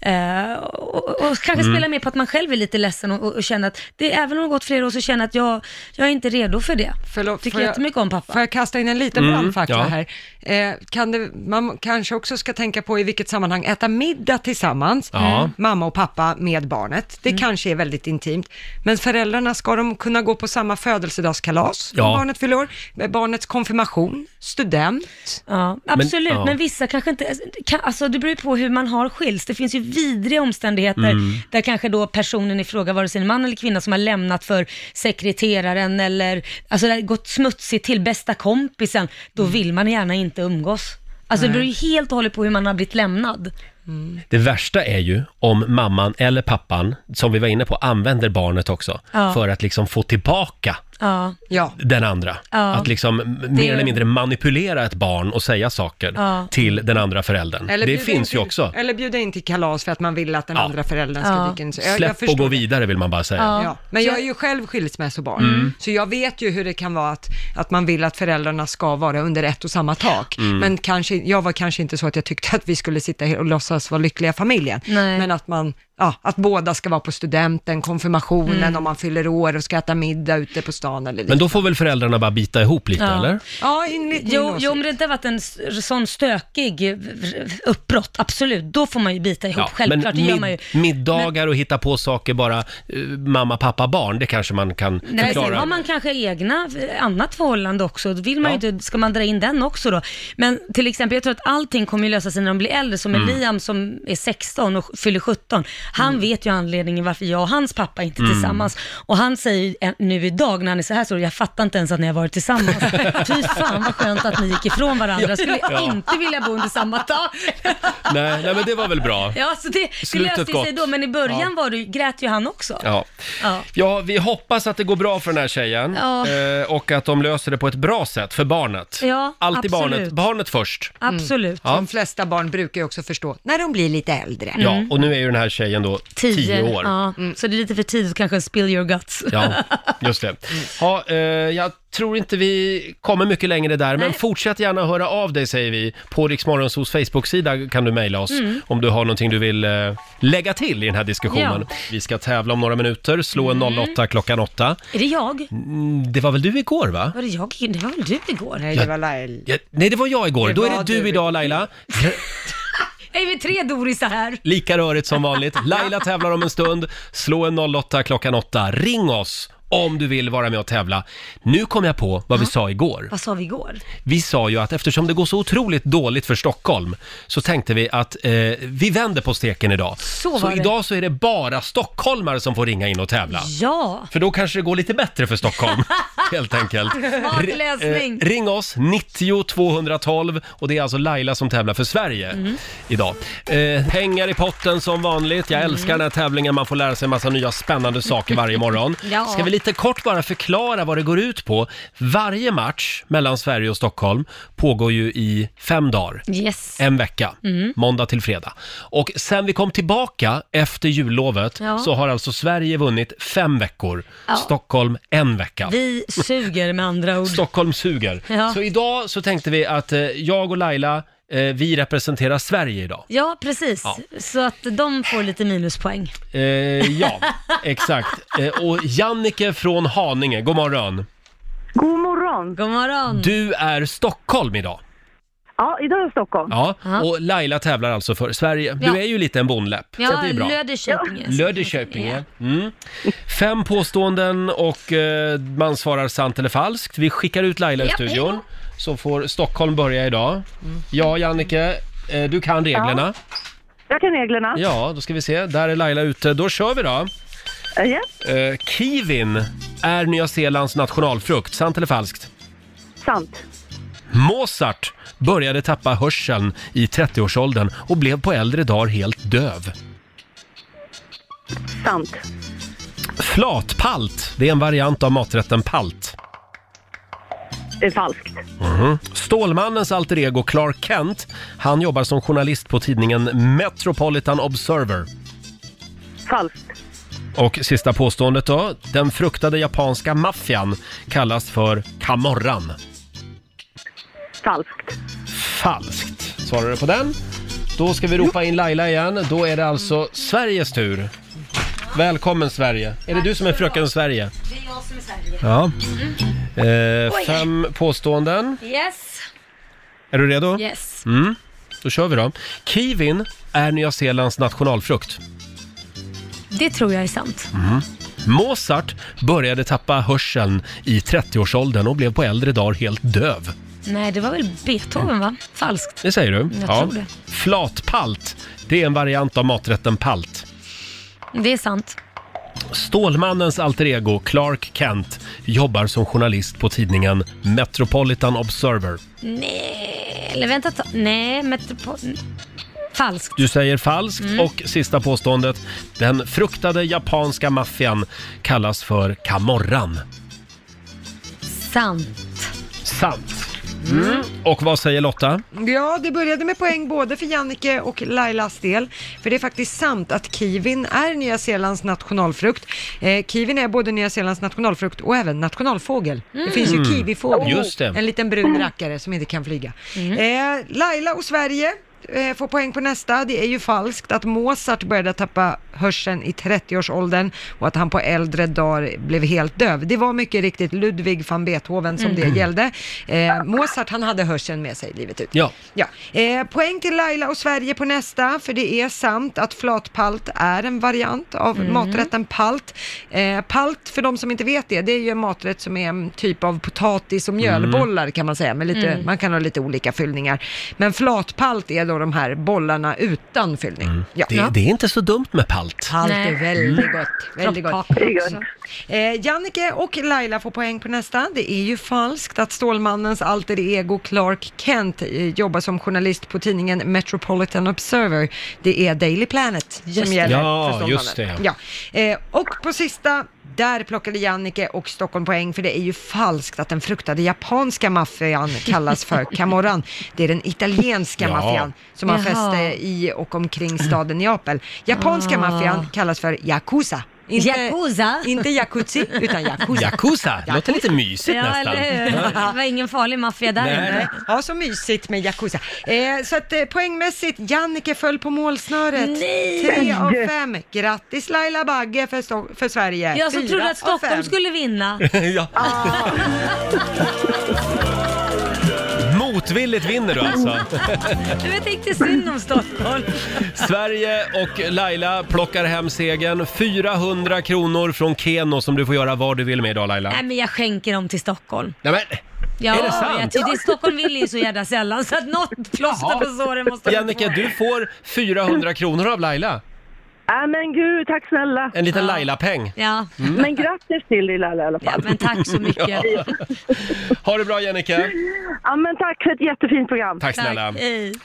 Speaker 2: Eh, och, och, och kanske
Speaker 5: Mm.
Speaker 2: spela med på att man själv är lite ledsen och, och, och känner att, det, även om det har gått flera år så känner jag att jag, jag är inte redo för det.
Speaker 3: Förlåt,
Speaker 2: tycker
Speaker 3: får jag-
Speaker 2: jättemycket om pappa.
Speaker 3: Får jag kasta in en liten
Speaker 2: Mm,
Speaker 3: brandfackla
Speaker 2: ja.
Speaker 3: här? Eh, kan det, man kanske också ska tänka på i vilket sammanhang äta middag tillsammans,
Speaker 5: Ja. Mm.
Speaker 3: mamma och pappa med barnet.
Speaker 2: Mm.
Speaker 3: Det kanske är väldigt intimt. Men föräldrarna, ska de kunna gå på samma födelsedagskalas
Speaker 1: Ja.
Speaker 3: om barnet fyller år? Med Barnets konfirmation, student?
Speaker 2: Ja, Absolut, men, vissa kanske inte, kan, alltså det beror ju på hur man har skilts. Det finns ju vidriga omständigheter
Speaker 5: Mm.
Speaker 2: där kanske då personen i fråga, vare sig en man eller kvinna, som har lämnat för sekreteraren eller, alltså det har gått smutsigt till bästa kompisen, då vill man gärna inte umgås. Alltså det
Speaker 3: Nej.
Speaker 2: beror ju helt och hållet på hur man har blivit lämnad.
Speaker 1: Det värsta är ju om mamman eller pappan, som vi var inne på, använder barnet också
Speaker 2: Ja.
Speaker 1: för att liksom få tillbaka
Speaker 2: Ja. ja.
Speaker 1: den andra.
Speaker 2: Ja.
Speaker 1: Att liksom m-
Speaker 2: Det-
Speaker 1: mer eller mindre manipulera ett barn och säga saker
Speaker 3: Ja.
Speaker 1: till den andra föräldern. det
Speaker 3: bjuda in
Speaker 1: finns ju
Speaker 3: till,
Speaker 1: också.
Speaker 3: Eller bjuda in till kalas för att man vill att den andra föräldern ska
Speaker 1: Ja.
Speaker 3: dyka in. Så jag, jag
Speaker 1: Släpp och
Speaker 3: förstår
Speaker 1: gå vidare vill man bara säga.
Speaker 3: Ja. Men jag är ju själv skilsmässobarn,
Speaker 1: Mm.
Speaker 3: så jag vet ju hur det kan vara att, att man vill att föräldrarna ska vara under ett och samma tak.
Speaker 1: Mm.
Speaker 3: Men kanske, jag var kanske inte så att jag tyckte att vi skulle sitta här och låtsas vara lyckliga i familjen. Men att, man, ja, att båda ska vara på studenten, konfirmationen,
Speaker 1: Mm.
Speaker 3: om man fyller år och ska äta middag ute på stan eller
Speaker 1: Men då får väl föräldrarna bara bita ihop lite
Speaker 2: Ja.
Speaker 1: eller?
Speaker 3: Ja,
Speaker 2: jo, jo, om det inte har varit en s- sån stökig v- uppbrott, absolut, då får man ju bita ihop, självklart, det
Speaker 1: men
Speaker 2: gör man ju.
Speaker 1: middagar och hitta på saker bara eh, mamma, pappa, barn, det kanske man kan
Speaker 2: Nej, sen
Speaker 1: förklara.
Speaker 2: har man kanske egna, eh, annat förhållande också. Då vill man ju inte, ska man dra in den också då? Men till exempel, jag tror att allting kommer ju lösa sig när de blir äldre. Som med
Speaker 1: Mm.
Speaker 2: Liam som är 16 och fyller 17. Han vet ju anledningen varför jag och hans pappa inte är
Speaker 1: Mm.
Speaker 2: tillsammans. Och han säger ju en- nu idag när han är så här så, jag fattar inte ens att ni har varit tillsammans. Fy fan vad skönt att ni gick ifrån varandra. Jag skulle
Speaker 1: Ja.
Speaker 2: inte vilja bo under samma tak.
Speaker 1: Nej, nej, men det var väl bra.
Speaker 2: Ja, så det, det
Speaker 1: Slutet
Speaker 2: löste sig
Speaker 1: gott.
Speaker 2: då. Men i början
Speaker 1: Ja.
Speaker 2: var det, grät ju han också.
Speaker 1: Ja.
Speaker 2: Ja.
Speaker 1: ja, vi hoppas att det går bra för den här tjejen
Speaker 2: Ja.
Speaker 1: eh, och att de löser det på ett bra sätt för barnet.
Speaker 2: Ja,
Speaker 1: Alltid
Speaker 2: absolut.
Speaker 1: barnet, barnet först.
Speaker 2: Absolut.
Speaker 1: Ja.
Speaker 3: De flesta barn brukar ju också förstå när de blir lite äldre.
Speaker 1: Ja, och nu är ju den här tjejen då tio, år. Ja.
Speaker 2: Mm. Ja, Så det är lite för tidigt kanske att spill your guts.
Speaker 1: just det. Ja, eh, jag tror inte vi kommer mycket längre där, men fortsätt gärna höra av dig säger vi. På Riksmorgonsos Facebook-sida kan du mejla oss
Speaker 2: Mm.
Speaker 1: om du har någonting du vill eh, lägga till i den här diskussionen. Vi ska tävla om några minuter, slå en
Speaker 2: Mm.
Speaker 1: 08 klockan 8.
Speaker 2: Är det jag?
Speaker 1: Mm, Det var väl du igår va?
Speaker 2: Var det jag? Det var väl du igår?
Speaker 3: Nej,
Speaker 1: det var
Speaker 3: Laila.
Speaker 1: Ja, nej, det var jag igår.
Speaker 2: Det
Speaker 1: Då är
Speaker 2: var
Speaker 1: det du,
Speaker 2: du.
Speaker 1: idag Laila.
Speaker 2: Är vi tre Dorisar här?
Speaker 1: Lika rörigt som vanligt. Laila tävlar om en stund. Slå en 08 klockan 8. Ring oss om du vill vara med och tävla. Nu kom jag på vad vi sa igår.
Speaker 2: Vad sa vi igår?
Speaker 1: Vi sa ju att eftersom det går så otroligt dåligt för Stockholm så tänkte vi att eh, vi vänder på steken idag. Så,
Speaker 2: var det.
Speaker 1: idag så är det bara stockholmare som får ringa in och tävla.
Speaker 2: Ja.
Speaker 1: För då kanske det går lite bättre för Stockholm, helt enkelt.
Speaker 2: Artläsning.
Speaker 1: Eh, ring oss, 90 212 och det är alltså Laila som tävlar för Sverige
Speaker 2: Mm.
Speaker 1: idag. Eh, pengar i potten som vanligt.
Speaker 2: Mm.
Speaker 1: Jag älskar den här tävlingen, man får lära sig en massa nya spännande saker varje morgon.
Speaker 2: Ja.
Speaker 1: Ska vi lite kort bara förklara vad det går ut på? Varje match mellan Sverige och Stockholm pågår ju i fem dagar.
Speaker 2: Yes.
Speaker 1: En vecka,
Speaker 2: Mm.
Speaker 1: måndag till fredag. Och sen vi kom tillbaka efter jullovet
Speaker 2: Ja.
Speaker 1: så har alltså Sverige vunnit fem veckor,
Speaker 2: Ja.
Speaker 1: Stockholm en vecka.
Speaker 2: Vi suger med andra ord.
Speaker 1: Stockholm suger.
Speaker 2: Ja.
Speaker 1: Så idag så tänkte vi att eh, jag och Laila, eh, vi representerar Sverige idag.
Speaker 2: Ja, precis.
Speaker 1: Ja.
Speaker 2: Så att de får lite minuspoäng.
Speaker 1: Eh, ja, exakt. Eh, och Jannike från Haninge, god morgon.
Speaker 2: God morgon. God morgon.
Speaker 1: Du är Stockholm idag.
Speaker 2: Ja, idag är Stockholm.
Speaker 1: Ja, och Laila tävlar alltså för Sverige.
Speaker 2: Ja.
Speaker 1: Du är ju lite en bonläpp, så
Speaker 2: Ja,
Speaker 1: att det är bra.
Speaker 2: Löddeköpinge.
Speaker 1: Löddeköping, ja. Mm. Fem påståenden och eh, man svarar sant eller falskt. Vi skickar ut Laila i
Speaker 2: Ja,
Speaker 1: studion, så får Stockholm börja idag. Ja, Jannike, eh, du kan reglerna.
Speaker 11: Jag kan reglerna.
Speaker 1: Ja, då ska vi se. Där är Laila ute. Då kör vi då.
Speaker 11: Eh, ja.
Speaker 1: Eh, kiwin är Nya Zeelands nationalfrukt. Sant eller falskt?
Speaker 11: Sant.
Speaker 1: Mozart började tappa hörseln i 30-årsåldern och blev på äldre dagar helt döv.
Speaker 11: Sant.
Speaker 1: Flatpalt, det är en variant av maträtten palt.
Speaker 11: Det är falskt.
Speaker 1: Mhm. Stålmannens alter ego Clark Kent, han jobbar som journalist på tidningen Metropolitan Observer.
Speaker 11: Falskt.
Speaker 1: Och sista påståendet då. Den fruktade japanska maffian kallas för kamorran.
Speaker 11: Falskt.
Speaker 1: Falskt. Svarar du på den? Då ska vi ropa in Laila igen. Då är det alltså Sveriges tur. Välkommen Sverige. Är det du som är fröken Sverige?
Speaker 2: Det är jag som är Sverige.
Speaker 1: Ja.
Speaker 2: Mm.
Speaker 1: Eh,
Speaker 2: Oj.
Speaker 1: fem påståenden.
Speaker 2: Yes.
Speaker 1: Är du redo?
Speaker 2: Yes.
Speaker 1: Mm. Då kör vi då. Kiwin är Nya Zeelands nationalfrukt.
Speaker 2: Det tror jag är sant.
Speaker 1: Mm. Mozart började tappa hörseln i 30-årsåldern och blev på äldre dagar helt döv.
Speaker 2: Nej, det var väl Beethoven va? Falskt.
Speaker 1: Det säger du?
Speaker 2: Jag tror det.
Speaker 1: Flatpalt, det är en variant av maträtten palt.
Speaker 2: Det är sant.
Speaker 1: Stålmannens alter ego Clark Kent jobbar som journalist på tidningen Metropolitan Observer.
Speaker 2: Nej, eller vänta ett tag. Nej, Metropol... Falskt.
Speaker 1: Du säger falskt
Speaker 2: Mm.
Speaker 1: och sista påståendet. Den fruktade japanska maffian kallas för kamorran.
Speaker 2: Sant.
Speaker 1: Sant. Mm. Och vad säger Lotta?
Speaker 3: Ja, det började med poäng både för Jannike och Lailas del. För det är faktiskt sant att kiwin är Nya Zeelands nationalfrukt. Eh, kiwin är både Nya Zeelands nationalfrukt och även nationalfågel.
Speaker 5: Mm.
Speaker 3: Det finns ju
Speaker 5: Mm.
Speaker 3: kiwifågel,
Speaker 5: Just det.
Speaker 3: en liten brun rackare som inte kan flyga. Eh, Laila och Sverige eh, får poäng på nästa. Det är ju falskt att Mozart började tappa hörseln i 30-årsåldern och att han på äldre dagar blev helt döv. Det var mycket riktigt Ludwig van Beethoven som
Speaker 5: Mm.
Speaker 3: det gällde. Eh, Mozart, han hade hörseln med sig livet ut.
Speaker 1: Ja.
Speaker 3: Ja, eh, poäng till Laila och Sverige på nästa, för det är sant att flatpalt är en variant av
Speaker 5: Mm.
Speaker 3: maträtten palt. Eh, palt, för de som inte vet det, det är ju en maträtt som är en typ av potatis och mjölbollar kan man säga, med lite,
Speaker 5: Mm.
Speaker 3: man kan ha lite olika fyllningar. Men flatpalt är då de här bollarna utan fyllning. Ja.
Speaker 1: Det, det är inte så dumt med palt.
Speaker 3: Palt är
Speaker 1: Nej.
Speaker 3: väldigt
Speaker 1: Mm.
Speaker 3: gott. Väldigt gott.
Speaker 1: Kroppkaka också.
Speaker 3: Eh, Jannike och Laila får poäng på nästa. Det är ju falskt att Stålmannens alter ego Clark Kent eh, jobbar som journalist på tidningen Metropolitan Observer. Det är Daily Planet
Speaker 5: Just
Speaker 3: som
Speaker 5: det.
Speaker 3: gäller
Speaker 5: Ja,
Speaker 3: för Stålmannen.
Speaker 5: just det.
Speaker 3: Ja. Eh, och på sista, där plockade Jannike och Stockholm poäng för det är ju falskt att den fruktade japanska maffian kallas för Camorran. Det är den italienska
Speaker 5: Ja.
Speaker 3: maffian som har
Speaker 5: Jaha.
Speaker 3: fäste i och omkring staden Neapel. Japanska
Speaker 5: Ah.
Speaker 3: maffian kallas för Yakuza. Inte,
Speaker 2: Yakuza?
Speaker 3: Inte jacuzzi, utan Yakuza.
Speaker 1: Yakuza, låter lite mysigt
Speaker 2: ja,
Speaker 1: nästan.
Speaker 2: Eller hur? Det var ingen farlig maffia där
Speaker 1: Nej.
Speaker 2: inne.
Speaker 3: Ja, så mysigt med Yakuza. Eh, så att eh, poängmässigt, Jannike föll på målsnöret.
Speaker 2: Nej!
Speaker 3: Tre av fem. Grattis Laila Bagge för, Sto- för Sverige.
Speaker 2: Jag som
Speaker 3: Fyra
Speaker 2: trodde
Speaker 3: av
Speaker 2: att Stockholm
Speaker 3: fem.
Speaker 2: skulle vinna.
Speaker 1: ja.
Speaker 2: Ah.
Speaker 1: Motvilligt vinner du alltså.
Speaker 2: Jag tyckte synd om Stockholm.
Speaker 1: Sverige och Laila plockar hem segern. 400 kronor från Keno som du får göra vad du vill med idag Laila.
Speaker 2: Nej men jag skänker dem till Stockholm.
Speaker 1: Nej, men,
Speaker 2: Ja,
Speaker 1: är det
Speaker 2: Jag,
Speaker 1: sant?
Speaker 2: tycker- det, Stockholm vill ju så jävla sällan så att något plåster på såren måste de
Speaker 1: Jannike,
Speaker 2: få.
Speaker 1: du får 400 kronor av Laila.
Speaker 11: Nej men gud, tack snälla.
Speaker 1: En liten Laila-peng.
Speaker 2: Ja.
Speaker 1: Mm.
Speaker 11: Men grattis till dig Laila i alla fall.
Speaker 2: men tack så mycket.
Speaker 1: Ja. Ha det bra Jannike.
Speaker 11: Ja men tack för ett jättefint program.
Speaker 1: Tack snälla.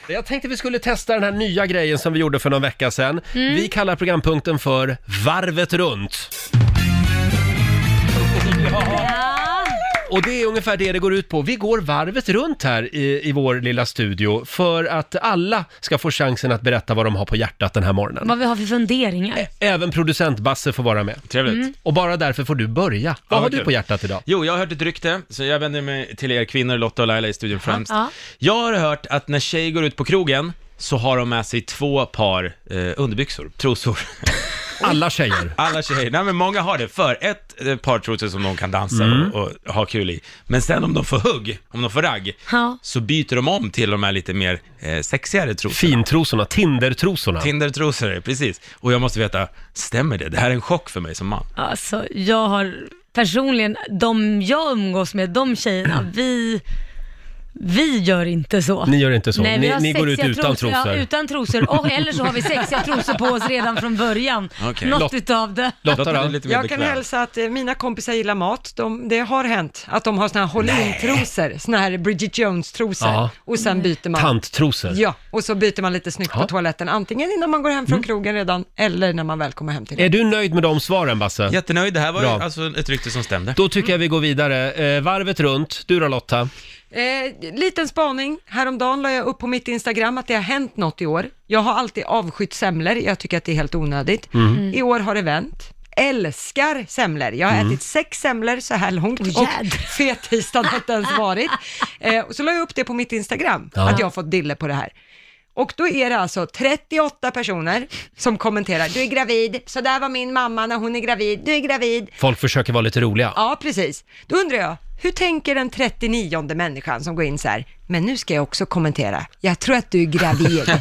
Speaker 1: Jag tänkte vi skulle testa den här nya grejen som vi gjorde för någon vecka sedan.
Speaker 11: Mm.
Speaker 1: Vi kallar programpunkten för Varvet runt. Och det är ungefär det det går ut på. Vi går varvet runt här i, i vår lilla studio för att alla ska få chansen att berätta vad de har på hjärtat den här morgonen.
Speaker 2: Vad vi har för funderingar.
Speaker 1: Även producent Basse får vara med.
Speaker 9: Trevligt. Mm.
Speaker 1: Och bara därför får du börja. Vad
Speaker 9: Ja,
Speaker 1: har
Speaker 9: vad
Speaker 1: du
Speaker 9: kul.
Speaker 1: på hjärtat idag?
Speaker 9: Jo, jag har hört ett rykte, så jag vänder mig till er kvinnor, Lotta och Laila i studion främst.
Speaker 1: ja.
Speaker 9: Jag har hört att när tjejer går ut på krogen så har de med sig två par eh, underbyxor, trosor.
Speaker 1: Alla tjejer?
Speaker 9: Alla tjejer. Nej, men många har det. För ett eh, par trosor som de kan dansa
Speaker 1: Mm.
Speaker 9: och, och ha kul i. Men sen om de får hugg, om de får ragg,
Speaker 2: Ja.
Speaker 9: så byter de om till de här lite mer eh, sexigare trosorna.
Speaker 1: Fintrosorna, Tindertrosorna.
Speaker 9: Tindertrosor, precis. Och jag måste veta, stämmer det? Det här är en chock för mig som man.
Speaker 2: Alltså, jag har personligen, de jag umgås med, de tjejerna, vi, vi gör inte så.
Speaker 1: Ni gör inte så.
Speaker 2: vi
Speaker 1: Ni-
Speaker 2: har
Speaker 1: ni går ut
Speaker 2: sexiga
Speaker 1: utan trosor.
Speaker 2: Ja, utan trosor. Och, eller så har vi sexiga trosor på oss redan från början.
Speaker 1: Okej.
Speaker 2: Något
Speaker 1: Lot-
Speaker 2: utav det.
Speaker 3: Jag kan hälsa att eh, mina kompisar gillar mat. De, det har hänt att de har såna här Hållin-trosor, såna här Bridget Jones-trosor.
Speaker 1: Ja.
Speaker 3: Och sen byter man.
Speaker 1: Tanttrosor.
Speaker 3: Ja, och så byter man lite snyggt
Speaker 1: Ja. Mm.
Speaker 3: på toaletten. Antingen innan man går hem från krogen redan, eller när man väl kommer hem till
Speaker 1: Är du nöjd med de svaren Basse?
Speaker 9: Jättenöjd, det här var ju
Speaker 1: Bra.
Speaker 9: alltså ett rykte som stämde.
Speaker 1: Då tycker jag vi går vidare. Eh, varvet runt. Du då Lotta?
Speaker 3: Eh, liten spaning. Häromdagen la jag upp på mitt Instagram att det har hänt något i år. Jag har alltid avskytt semlor. Jag tycker att det är helt onödigt.
Speaker 5: Mm. Mm.
Speaker 3: I år har det vänt. Älskar semlor. Jag har
Speaker 5: Mm.
Speaker 3: ätit sex semlor så här långt
Speaker 5: Åh,
Speaker 3: och
Speaker 5: jädrar.
Speaker 3: fettisdagen har inte ens varit. Eh, och så la jag upp det på mitt Instagram,
Speaker 5: Ja.
Speaker 3: att jag har fått dille på det här. Och då är det alltså 38 personer som kommenterar, du är gravid, så där var min mamma när hon är gravid, du är gravid,
Speaker 1: Folk försöker vara lite roliga.
Speaker 3: Ja, precis. Då undrar jag, hur tänker den 39 människan som går in så här, men nu ska jag också kommentera, jag tror att du är gravid.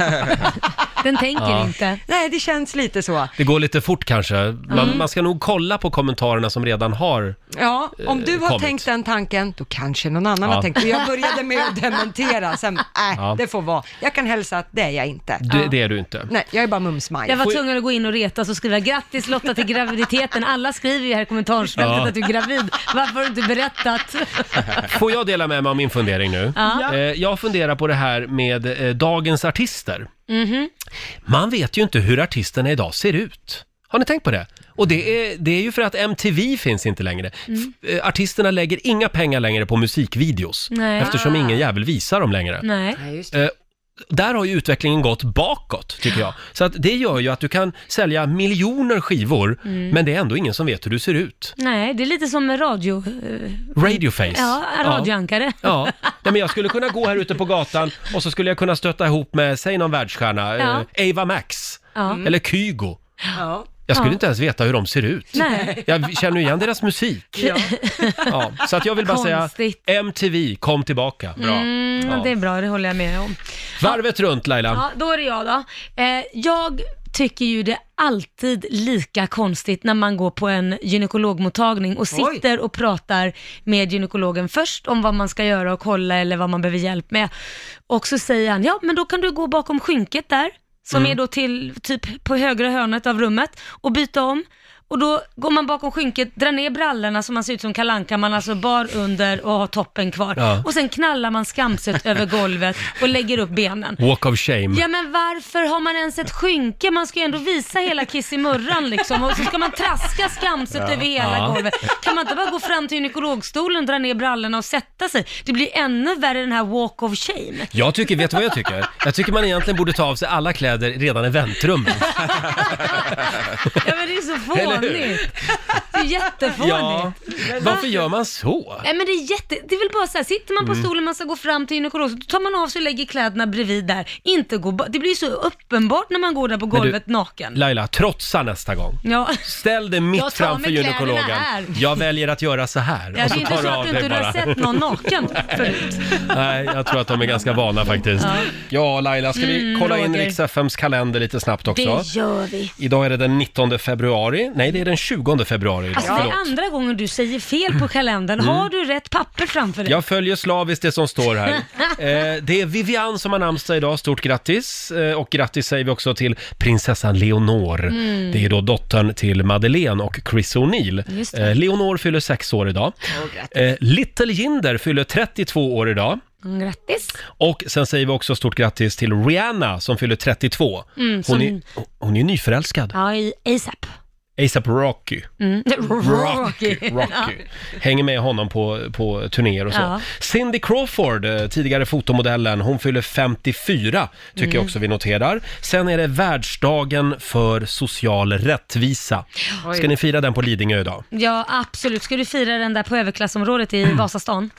Speaker 2: Den tänker
Speaker 1: Ja.
Speaker 2: inte.
Speaker 3: Nej, det känns lite så.
Speaker 1: Det går lite fort kanske. Man,
Speaker 3: Mm.
Speaker 1: man ska nog kolla på kommentarerna som redan har...
Speaker 3: Ja, om
Speaker 1: Eh,
Speaker 3: du har
Speaker 1: kommit.
Speaker 3: tänkt den tanken, då kanske någon annan
Speaker 1: Ja.
Speaker 3: har tänkt, och jag började med att dementera, sen, äh,
Speaker 1: Ja.
Speaker 3: det får vara. Jag kan hälsa att det är jag inte.
Speaker 1: Det, det är du inte.
Speaker 3: Nej, jag är bara mumsmaj.
Speaker 2: Jag var tvungen att gå in och retas och skriva grattis Lotta till graviditeten. Alla skriver ju här i kommentarsfältet
Speaker 1: Ja.
Speaker 2: att du är gravid. Varför har du inte berättat?
Speaker 1: Får jag dela med mig av min fundering nu?
Speaker 2: Ja.
Speaker 1: Eh, jag funderar på det här med eh, dagens artister.
Speaker 2: Mhm.
Speaker 1: Man vet ju inte hur artisterna idag ser ut. Har ni tänkt på det? Och det är, det är ju för att MTV finns inte längre.
Speaker 2: Mm.
Speaker 1: Eh, Artisterna lägger inga pengar längre på musikvideos
Speaker 2: Nej. Ah.
Speaker 1: eftersom ingen jävel visar dem längre.
Speaker 2: Nej.
Speaker 1: Eh, där har ju utvecklingen gått bakåt, tycker jag. Så att det gör ju att du kan sälja miljoner skivor,
Speaker 2: Mm.
Speaker 1: men det är ändå ingen som vet hur du ser ut.
Speaker 2: Nej, det är lite som med radio... eh,
Speaker 1: Radioface.
Speaker 2: Ja, radioankare.
Speaker 1: Ja, Nej, men jag skulle kunna gå här ute på gatan och så skulle jag kunna stöta ihop med, säg någon världsstjärna,
Speaker 2: Ja.
Speaker 1: eh, Ava Max,
Speaker 2: Ja.
Speaker 1: eller Kygo.
Speaker 3: Ja.
Speaker 1: Jag skulle
Speaker 2: Ja.
Speaker 1: inte ens veta hur de ser ut.
Speaker 2: Nej.
Speaker 1: Jag känner ju igen deras musik.
Speaker 2: Ja.
Speaker 1: Ja, så att jag vill bara säga,
Speaker 2: Konstigt.
Speaker 1: MTV, kom tillbaka.
Speaker 2: Mm,
Speaker 1: Ja.
Speaker 2: Det är bra, det håller jag med om.
Speaker 1: Varvet runt Laila.
Speaker 2: Ja, då är det jag då. Eh, jag tycker ju det är alltid lika konstigt när man går på en gynekologmottagning och
Speaker 13: Oj.
Speaker 2: sitter och pratar med gynekologen först om vad man ska göra och kolla eller vad man behöver hjälp med. Och så säger han, ja men då kan du gå bakom skynket där, som
Speaker 13: Mm.
Speaker 2: är då till typ på högra hörnet av rummet och byta om. Och då går man bakom skynket, drar ner brallorna så man ser ut som Kalle Anka, man alltså bar under och har toppen kvar.
Speaker 1: Ja.
Speaker 2: Och sen knallar man skamset över golvet och lägger upp benen.
Speaker 1: Walk of shame.
Speaker 2: Ja men varför har man ens ett skynke? Man ska ju ändå visa hela kissimurran liksom och så ska man traska skamset
Speaker 1: Ja.
Speaker 2: över hela
Speaker 1: Ja.
Speaker 2: golvet. Kan man inte bara gå fram till gynekologstolen, dra ner brallorna och sätta sig? Det blir ännu värre den här walk of shame.
Speaker 1: Jag tycker, vet du vad jag tycker? Jag tycker man egentligen borde ta av sig alla kläder redan i väntrummet.
Speaker 2: Ja men det är så
Speaker 1: Eller hur?
Speaker 2: fånigt. Det är jättefånigt.
Speaker 1: Ja, varför gör man så?
Speaker 2: Nej men det är jätte, det är väl bara så här, sitter man på
Speaker 1: Mm.
Speaker 2: stolen man ska gå fram till gynekolog, så då tar man av sig och lägger kläderna bredvid där. Inte gå, ba- det blir ju så uppenbart när man går där på
Speaker 1: Men du-
Speaker 2: golvet naken.
Speaker 1: Laila, trotsa nästa gång.
Speaker 2: Ja.
Speaker 1: Ställ dig mitt
Speaker 2: Jag tar
Speaker 1: framför
Speaker 2: med kläderna
Speaker 1: gynekologen.
Speaker 2: här.
Speaker 1: Jag väljer att göra så här.
Speaker 2: Ja,
Speaker 1: Och
Speaker 2: det är
Speaker 1: så
Speaker 2: inte
Speaker 1: tar
Speaker 2: så
Speaker 1: du
Speaker 2: att
Speaker 1: av
Speaker 2: du
Speaker 1: dig
Speaker 2: inte
Speaker 1: bara.
Speaker 2: har sett någon naken förut.
Speaker 1: Nej, jag tror att de är ganska vana faktiskt. Ja,
Speaker 2: Ja.
Speaker 1: Laila, ska vi
Speaker 2: Mm,
Speaker 1: kolla in
Speaker 2: Roger.
Speaker 1: riks FMs kalender lite snabbt också?
Speaker 2: Det gör vi.
Speaker 1: Idag är det den 19 februari. Nej, det är den 20 februari. idag.
Speaker 2: Alltså det
Speaker 1: Förlåt.
Speaker 2: är andra gången du säger fel på kalendern.
Speaker 1: Mm.
Speaker 2: Har du rätt papper framför dig?
Speaker 1: Jag följer slaviskt det som står här. Eh, det är Vivian som har namnsdag idag, stort grattis. Eh, och grattis säger vi också till prinsessan Leonor.
Speaker 5: Mm.
Speaker 1: Det är då dottern till Madeleine och
Speaker 5: Just
Speaker 1: Chris O'Neill.
Speaker 5: det.
Speaker 1: Eh, Leonor fyller sex år idag.
Speaker 5: Åh, grattis.
Speaker 1: Eh, Little Jinder fyller 32 år idag.
Speaker 2: Mm, Grattis.
Speaker 1: Och sen säger vi också stort grattis till Rihanna som fyller 32.
Speaker 2: Mm,
Speaker 1: hon,
Speaker 2: som-
Speaker 1: är, hon är nyförälskad.
Speaker 2: Ja, i ASAP.
Speaker 1: ASAP Rocky.
Speaker 2: Mm.
Speaker 1: Rocky,
Speaker 2: Ja.
Speaker 1: Rocky. Hänger med honom på, på turnéer och så.
Speaker 2: Ja.
Speaker 1: Cindy Crawford, eh, tidigare fotomodellen, hon fyller 54, tycker
Speaker 2: Mm.
Speaker 1: jag också vi noterar. Sen är det världsdagen för social rättvisa.
Speaker 2: Oj.
Speaker 1: Ska ni fira den på Lidingö idag?
Speaker 2: Ja, absolut. Ska du fira den där på överklassområdet i
Speaker 1: Mm.
Speaker 2: Vasastan?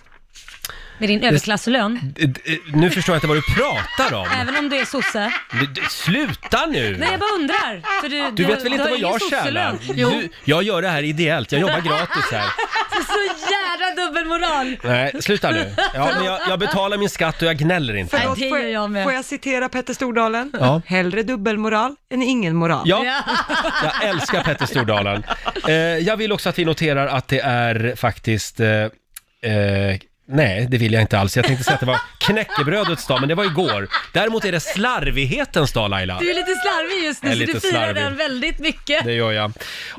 Speaker 2: Med din överklasslön?
Speaker 1: Eh, D- d- Nu förstår jag inte vad du pratar om.
Speaker 2: Även om du är sosse?
Speaker 1: D- d- Sluta nu!
Speaker 2: Nej, jag bara undrar. För du,
Speaker 1: Du vet väl
Speaker 2: du
Speaker 1: inte
Speaker 2: har
Speaker 1: vad
Speaker 2: ingen
Speaker 1: jag tjänar?
Speaker 2: sosselön. Jo,
Speaker 1: Du, jag gör det här ideellt, jag jobbar gratis här.
Speaker 2: så jävla dubbelmoral.
Speaker 1: Nej, sluta nu. Ja, men jag, jag betalar min skatt och jag gnäller inte.
Speaker 3: Förlåt,
Speaker 2: det
Speaker 3: får,
Speaker 2: gör jag
Speaker 3: jag,
Speaker 2: med.
Speaker 3: får jag citera Petter Stordalen?
Speaker 1: Ja.
Speaker 3: Hellre dubbelmoral än ingen moral.
Speaker 1: Ja. Jag älskar Petter Stordalen. Eh, jag vill också att vi noterar att det är faktiskt... Eh, eh, nej, det vill jag inte alls. Jag tänkte säga att det var knäckebrödets dag, men det var igår. Däremot är det slarvighetens dag, Laila.
Speaker 2: Du är lite slarvig just nu,
Speaker 1: Jag är
Speaker 2: så du
Speaker 1: lite
Speaker 2: firar
Speaker 1: slarvig.
Speaker 2: den väldigt mycket.
Speaker 1: Det gör jag.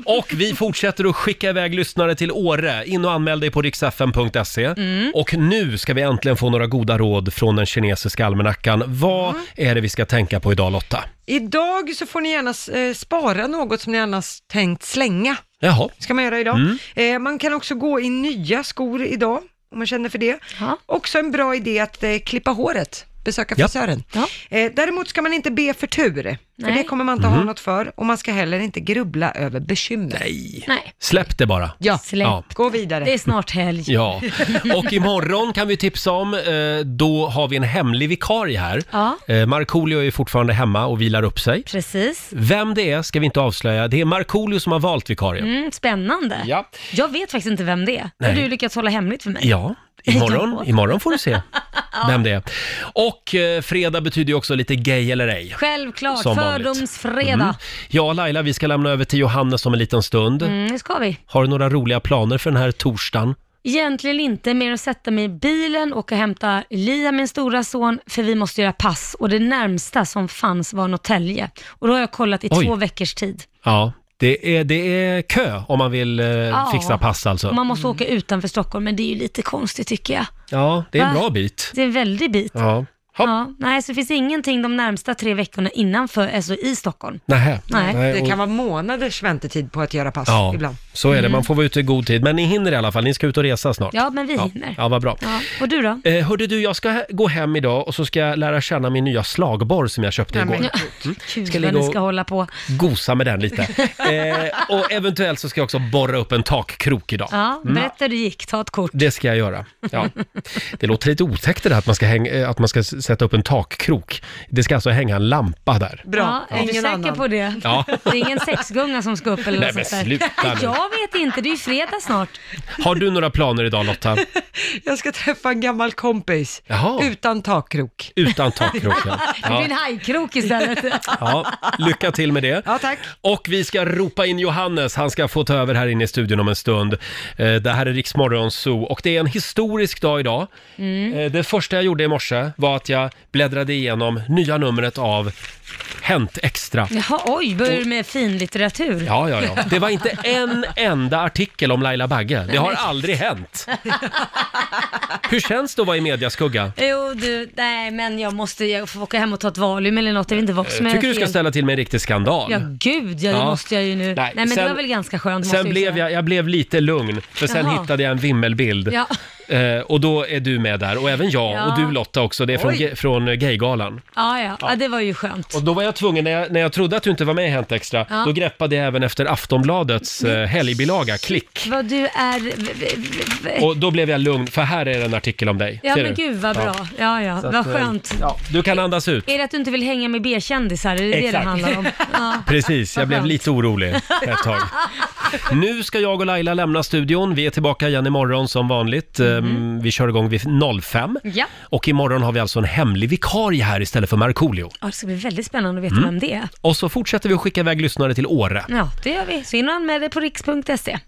Speaker 1: Och vi fortsätter att skicka iväg lyssnare till Åre. In och anmäl dig på riksfn.se.
Speaker 5: Mm.
Speaker 1: Och nu ska vi äntligen få några goda råd från den kinesiska almanackan. Vad är det vi ska tänka på idag, Lotta?
Speaker 3: Idag så får ni gärna eh, spara något som ni annars tänkt slänga.
Speaker 1: Jaha.
Speaker 3: ska man göra idag.
Speaker 1: Mm.
Speaker 3: Eh, man kan också gå i nya skor idag, om man känner för det. Också en bra idé att eh, klippa håret, besöka
Speaker 5: Ja.
Speaker 3: frisören. Eh, däremot ska man inte be för tur,
Speaker 2: Nej.
Speaker 3: för det kommer man inte ha
Speaker 1: Mhm.
Speaker 3: något för. Och man ska heller inte grubbla över bekymmer.
Speaker 1: Nej.
Speaker 2: Nej.
Speaker 1: Släpp det bara.
Speaker 3: Ja,
Speaker 1: Släpp. Ja.
Speaker 3: gå vidare.
Speaker 2: Det är snart helg.
Speaker 1: Ja, och imorgon kan vi tipsa om, eh, då har vi en hemlig vikarie här.
Speaker 2: Ja.
Speaker 1: Eh, Markoolio är fortfarande hemma och vilar upp sig.
Speaker 2: Precis.
Speaker 1: Vem det är ska vi inte avslöja. Det är Markoolio som har valt vikarien.
Speaker 2: Mm, spännande.
Speaker 1: Ja.
Speaker 2: Jag vet faktiskt inte vem det är.
Speaker 1: Nej.
Speaker 2: Har du lyckats hålla hemligt för mig?
Speaker 1: Ja, imorgon,
Speaker 2: Ja.
Speaker 1: imorgon får du se vem det är. Och eh, fredag betyder ju också lite gay eller ej.
Speaker 2: Självklart,
Speaker 1: Som vanligt. Mm.
Speaker 2: fördomsfredag.
Speaker 1: Ja, Laila, vi ska lämna över till Johannes om en liten stund.
Speaker 2: Mm. det ska vi.
Speaker 1: Har du några roliga planer för den här torsdagen?
Speaker 2: Egentligen inte mer att sätta mig i bilen och hämta Lia, min stora son, för vi måste göra pass och det närmsta som fanns var Norrtälje. Och då har jag kollat i
Speaker 1: Oj.
Speaker 2: två veckors tid.
Speaker 1: Ja, det är, det är kö om man vill eh,
Speaker 2: Ja.
Speaker 1: fixa pass alltså.
Speaker 2: Och man måste åka utanför Stockholm, men det är ju lite konstigt tycker jag.
Speaker 1: Ja, det är en
Speaker 2: Va?
Speaker 1: bra bit.
Speaker 2: Det är en väldig bit.
Speaker 1: Ja.
Speaker 2: Ja, nej, så det finns ingenting de närmsta tre veckorna innanför, alltså i Stockholm.
Speaker 1: Nähä.
Speaker 2: Nej.
Speaker 1: och-
Speaker 3: Det kan vara månaders väntetid på att göra pass
Speaker 1: Ja,
Speaker 3: ibland.
Speaker 1: så är det.
Speaker 2: Mm.
Speaker 1: Man får vara ute i god tid. Men ni hinner i alla fall. Ni ska ut och resa snart.
Speaker 2: Ja, men vi
Speaker 1: ja.
Speaker 2: hinner.
Speaker 1: Ja, vad bra.
Speaker 2: Ja. Och du då?
Speaker 1: Eh, hörde du, jag ska he- gå hem idag och så ska jag lära känna min nya slagborr som jag köpte igår.
Speaker 2: Ja, Gud
Speaker 1: Ska
Speaker 2: vad
Speaker 1: ligga
Speaker 2: ni
Speaker 1: och-
Speaker 2: ska hålla på.
Speaker 1: Gosa med den lite. Eh, och eventuellt så ska jag också borra upp en takkrok idag.
Speaker 2: Ja,
Speaker 1: Mm.
Speaker 2: berätta hur det gick, ta ett kort.
Speaker 1: Det ska jag göra. Ja. Det låter lite otäckt det där att man, ska hänga, eh, att man ska s- sätta upp en takkrok. Det ska alltså hänga en lampa där.
Speaker 2: Bra, ja, är du
Speaker 3: Ingen
Speaker 2: säker
Speaker 3: annan.
Speaker 2: på det?
Speaker 1: Ja.
Speaker 2: Det är ingen sexgunga som ska upp eller
Speaker 1: Nej,
Speaker 2: något sånt
Speaker 1: men
Speaker 2: där.
Speaker 1: sluta
Speaker 2: Nej,
Speaker 1: nu.
Speaker 2: Jag vet inte, det är ju fredag snart.
Speaker 1: Har du några planer idag Lotta?
Speaker 3: Jag ska träffa en gammal kompis
Speaker 1: Jaha.
Speaker 3: utan takkrok.
Speaker 1: Utan takkrok ja.
Speaker 2: Det blir
Speaker 1: ja.
Speaker 2: en hajkrok istället.
Speaker 1: Ja, lycka till med det.
Speaker 3: Ja, tack.
Speaker 1: Och vi ska ropa in Johannes. Han ska få ta över här inne i studion om en stund. Eh, Det här är Riksmorgon Zoo och det är en historisk dag idag.
Speaker 2: Mm.
Speaker 1: Eh, Det första jag gjorde i morse var att jag bläddrade igenom nya numret av Hänt Extra.
Speaker 2: Jaha, oj, börjar du med finlitteratur?
Speaker 1: Ja, ja, ja. Det var inte en enda artikel om Laila Bagge. Det har aldrig hänt. Hur känns det att vara i mediaskugga?
Speaker 2: Jo, du, nej men jag måste, jag får åka hem och ta ett Valium eller något, jag vet inte vad som är
Speaker 1: Tycker du ska
Speaker 2: fel.
Speaker 1: ställa till med en riktig skandal?
Speaker 2: Ja, gud ja, det
Speaker 1: Ja.
Speaker 2: måste jag ju nu. Nej, men
Speaker 1: sen-
Speaker 2: det var väl ganska skönt. måste
Speaker 1: Sen
Speaker 2: ju
Speaker 1: blev
Speaker 2: säga.
Speaker 1: jag, jag blev lite lugn, för sen
Speaker 2: Jaha.
Speaker 1: hittade jag en vimmelbild.
Speaker 2: Ja.
Speaker 1: Eh, och då är du med där, och även jag,
Speaker 2: Ja.
Speaker 1: och du Lotta också. Det är från,
Speaker 2: Oj.
Speaker 1: ge- från eh, Gaygalan.
Speaker 2: Ja, ja, ja, det var ju skönt.
Speaker 1: Och då var jag tvungen, när jag, när jag trodde att du inte var med i Hänt Extra,
Speaker 2: Ja.
Speaker 1: då greppade jag även efter Aftonbladets eh, helgbilaga, Klick.
Speaker 2: Vad du är... v- v- v-
Speaker 1: Och då blev jag lugn, för här är en artikel om dig.
Speaker 2: Ja
Speaker 1: Ser
Speaker 2: men
Speaker 1: du?
Speaker 2: gud vad
Speaker 1: Ja.
Speaker 2: bra. Ja, ja,
Speaker 1: Så att,
Speaker 2: vad
Speaker 1: eh,
Speaker 2: skönt.
Speaker 1: Du kan andas ut.
Speaker 2: Är det att du inte vill hänga med B-kändisar? Är det det det
Speaker 1: Exakt.
Speaker 2: handlar om? Ja.
Speaker 1: Precis, jag
Speaker 2: Vad
Speaker 1: blev
Speaker 2: skönt.
Speaker 1: lite orolig ett tag. Nu ska jag och Laila lämna studion. Vi är tillbaka igen imorgon som vanligt. Ehm, Vi kör igång vid 05.
Speaker 2: Mhm. Ja.
Speaker 1: Och imorgon har vi alltså en hemlig vikarie här istället för Markoolio.
Speaker 2: ja, det ska bli väldigt spännande att veta
Speaker 1: Mm.
Speaker 2: vem det är.
Speaker 1: Och så fortsätter vi att skicka iväg lyssnare till Åre.
Speaker 2: Ja, det gör vi. Så in och anmäl dig på riks.se.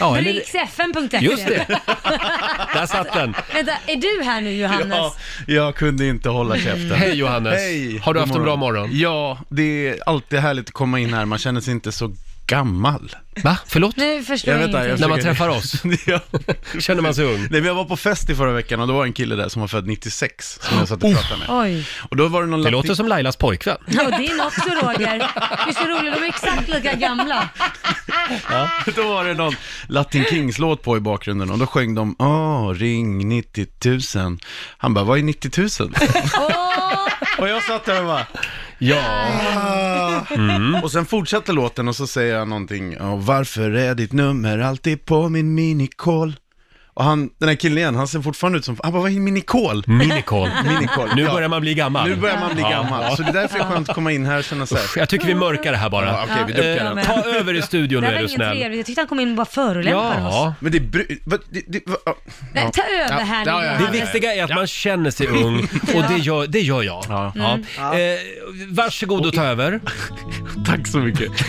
Speaker 1: Ja, eller-
Speaker 2: Riksfn.se.
Speaker 1: Just det. Där satt den.
Speaker 2: Vänta, är du här nu Johannes?
Speaker 13: Ja, jag kunde inte hålla käften.
Speaker 1: Mm. Hej, Johannes. Har du
Speaker 13: god
Speaker 1: haft en bra morgon?
Speaker 13: Ja, det är alltid härligt att komma in här. Man känner sig inte så gammal.
Speaker 1: Va? Förlåt?
Speaker 2: Nu förstår
Speaker 13: Jag
Speaker 2: jag,
Speaker 13: vet inte, jag
Speaker 2: ingenting.
Speaker 13: försöker-
Speaker 1: ja. Känner man sig ung? Nej,
Speaker 13: men jag var på fest i förra veckan och då var en kille där som var född 96 som jag satt
Speaker 1: Oh.
Speaker 13: och pratade med.
Speaker 2: Oj.
Speaker 13: Och då var det någon
Speaker 1: Det låter som Lailas pojkvän.
Speaker 2: Ja, din också Roger. Det är så roligt, de är exakt lika gamla.
Speaker 13: Då var det någon Latin Kings-låt på i bakgrunden och då sjöng de Åh, ring 90 000. Han bara, vad är 90 000? och jag satt där och bara, ja. Och sen fortsätter låten och så säger jag någonting, "Ja, varför är ditt nummer alltid på min minikol? Och han, den här killen igen, han ser fortfarande ut som, han bara, vad är en minikol?
Speaker 1: Minikol.
Speaker 13: minikol.
Speaker 1: Nu börjar man bli gammal.
Speaker 13: Nu börjar man bli
Speaker 1: Ja.
Speaker 13: gammal, så det är därför det är skönt att komma in här och känna så här.
Speaker 1: Usch, jag tycker vi mörkar det här bara.
Speaker 13: Ja, okej, vi duckar
Speaker 1: Eh,
Speaker 13: den.
Speaker 1: ta över i studion
Speaker 2: det
Speaker 1: nu
Speaker 2: här
Speaker 1: är
Speaker 2: var
Speaker 1: du
Speaker 2: ingen
Speaker 1: snäll.
Speaker 2: trevlig. Jag tyckte han kom in och bara förolämpade oss.
Speaker 13: Men det är bry- vad- det- det- vad- ja.
Speaker 2: Nej, ta över här nu,
Speaker 1: Det
Speaker 2: Johannes.
Speaker 1: viktiga är att man känner sig ung och det gör, det gör jag. Ja.
Speaker 2: Mm.
Speaker 1: Eh, varsågod och ta över.
Speaker 13: Tack så mycket.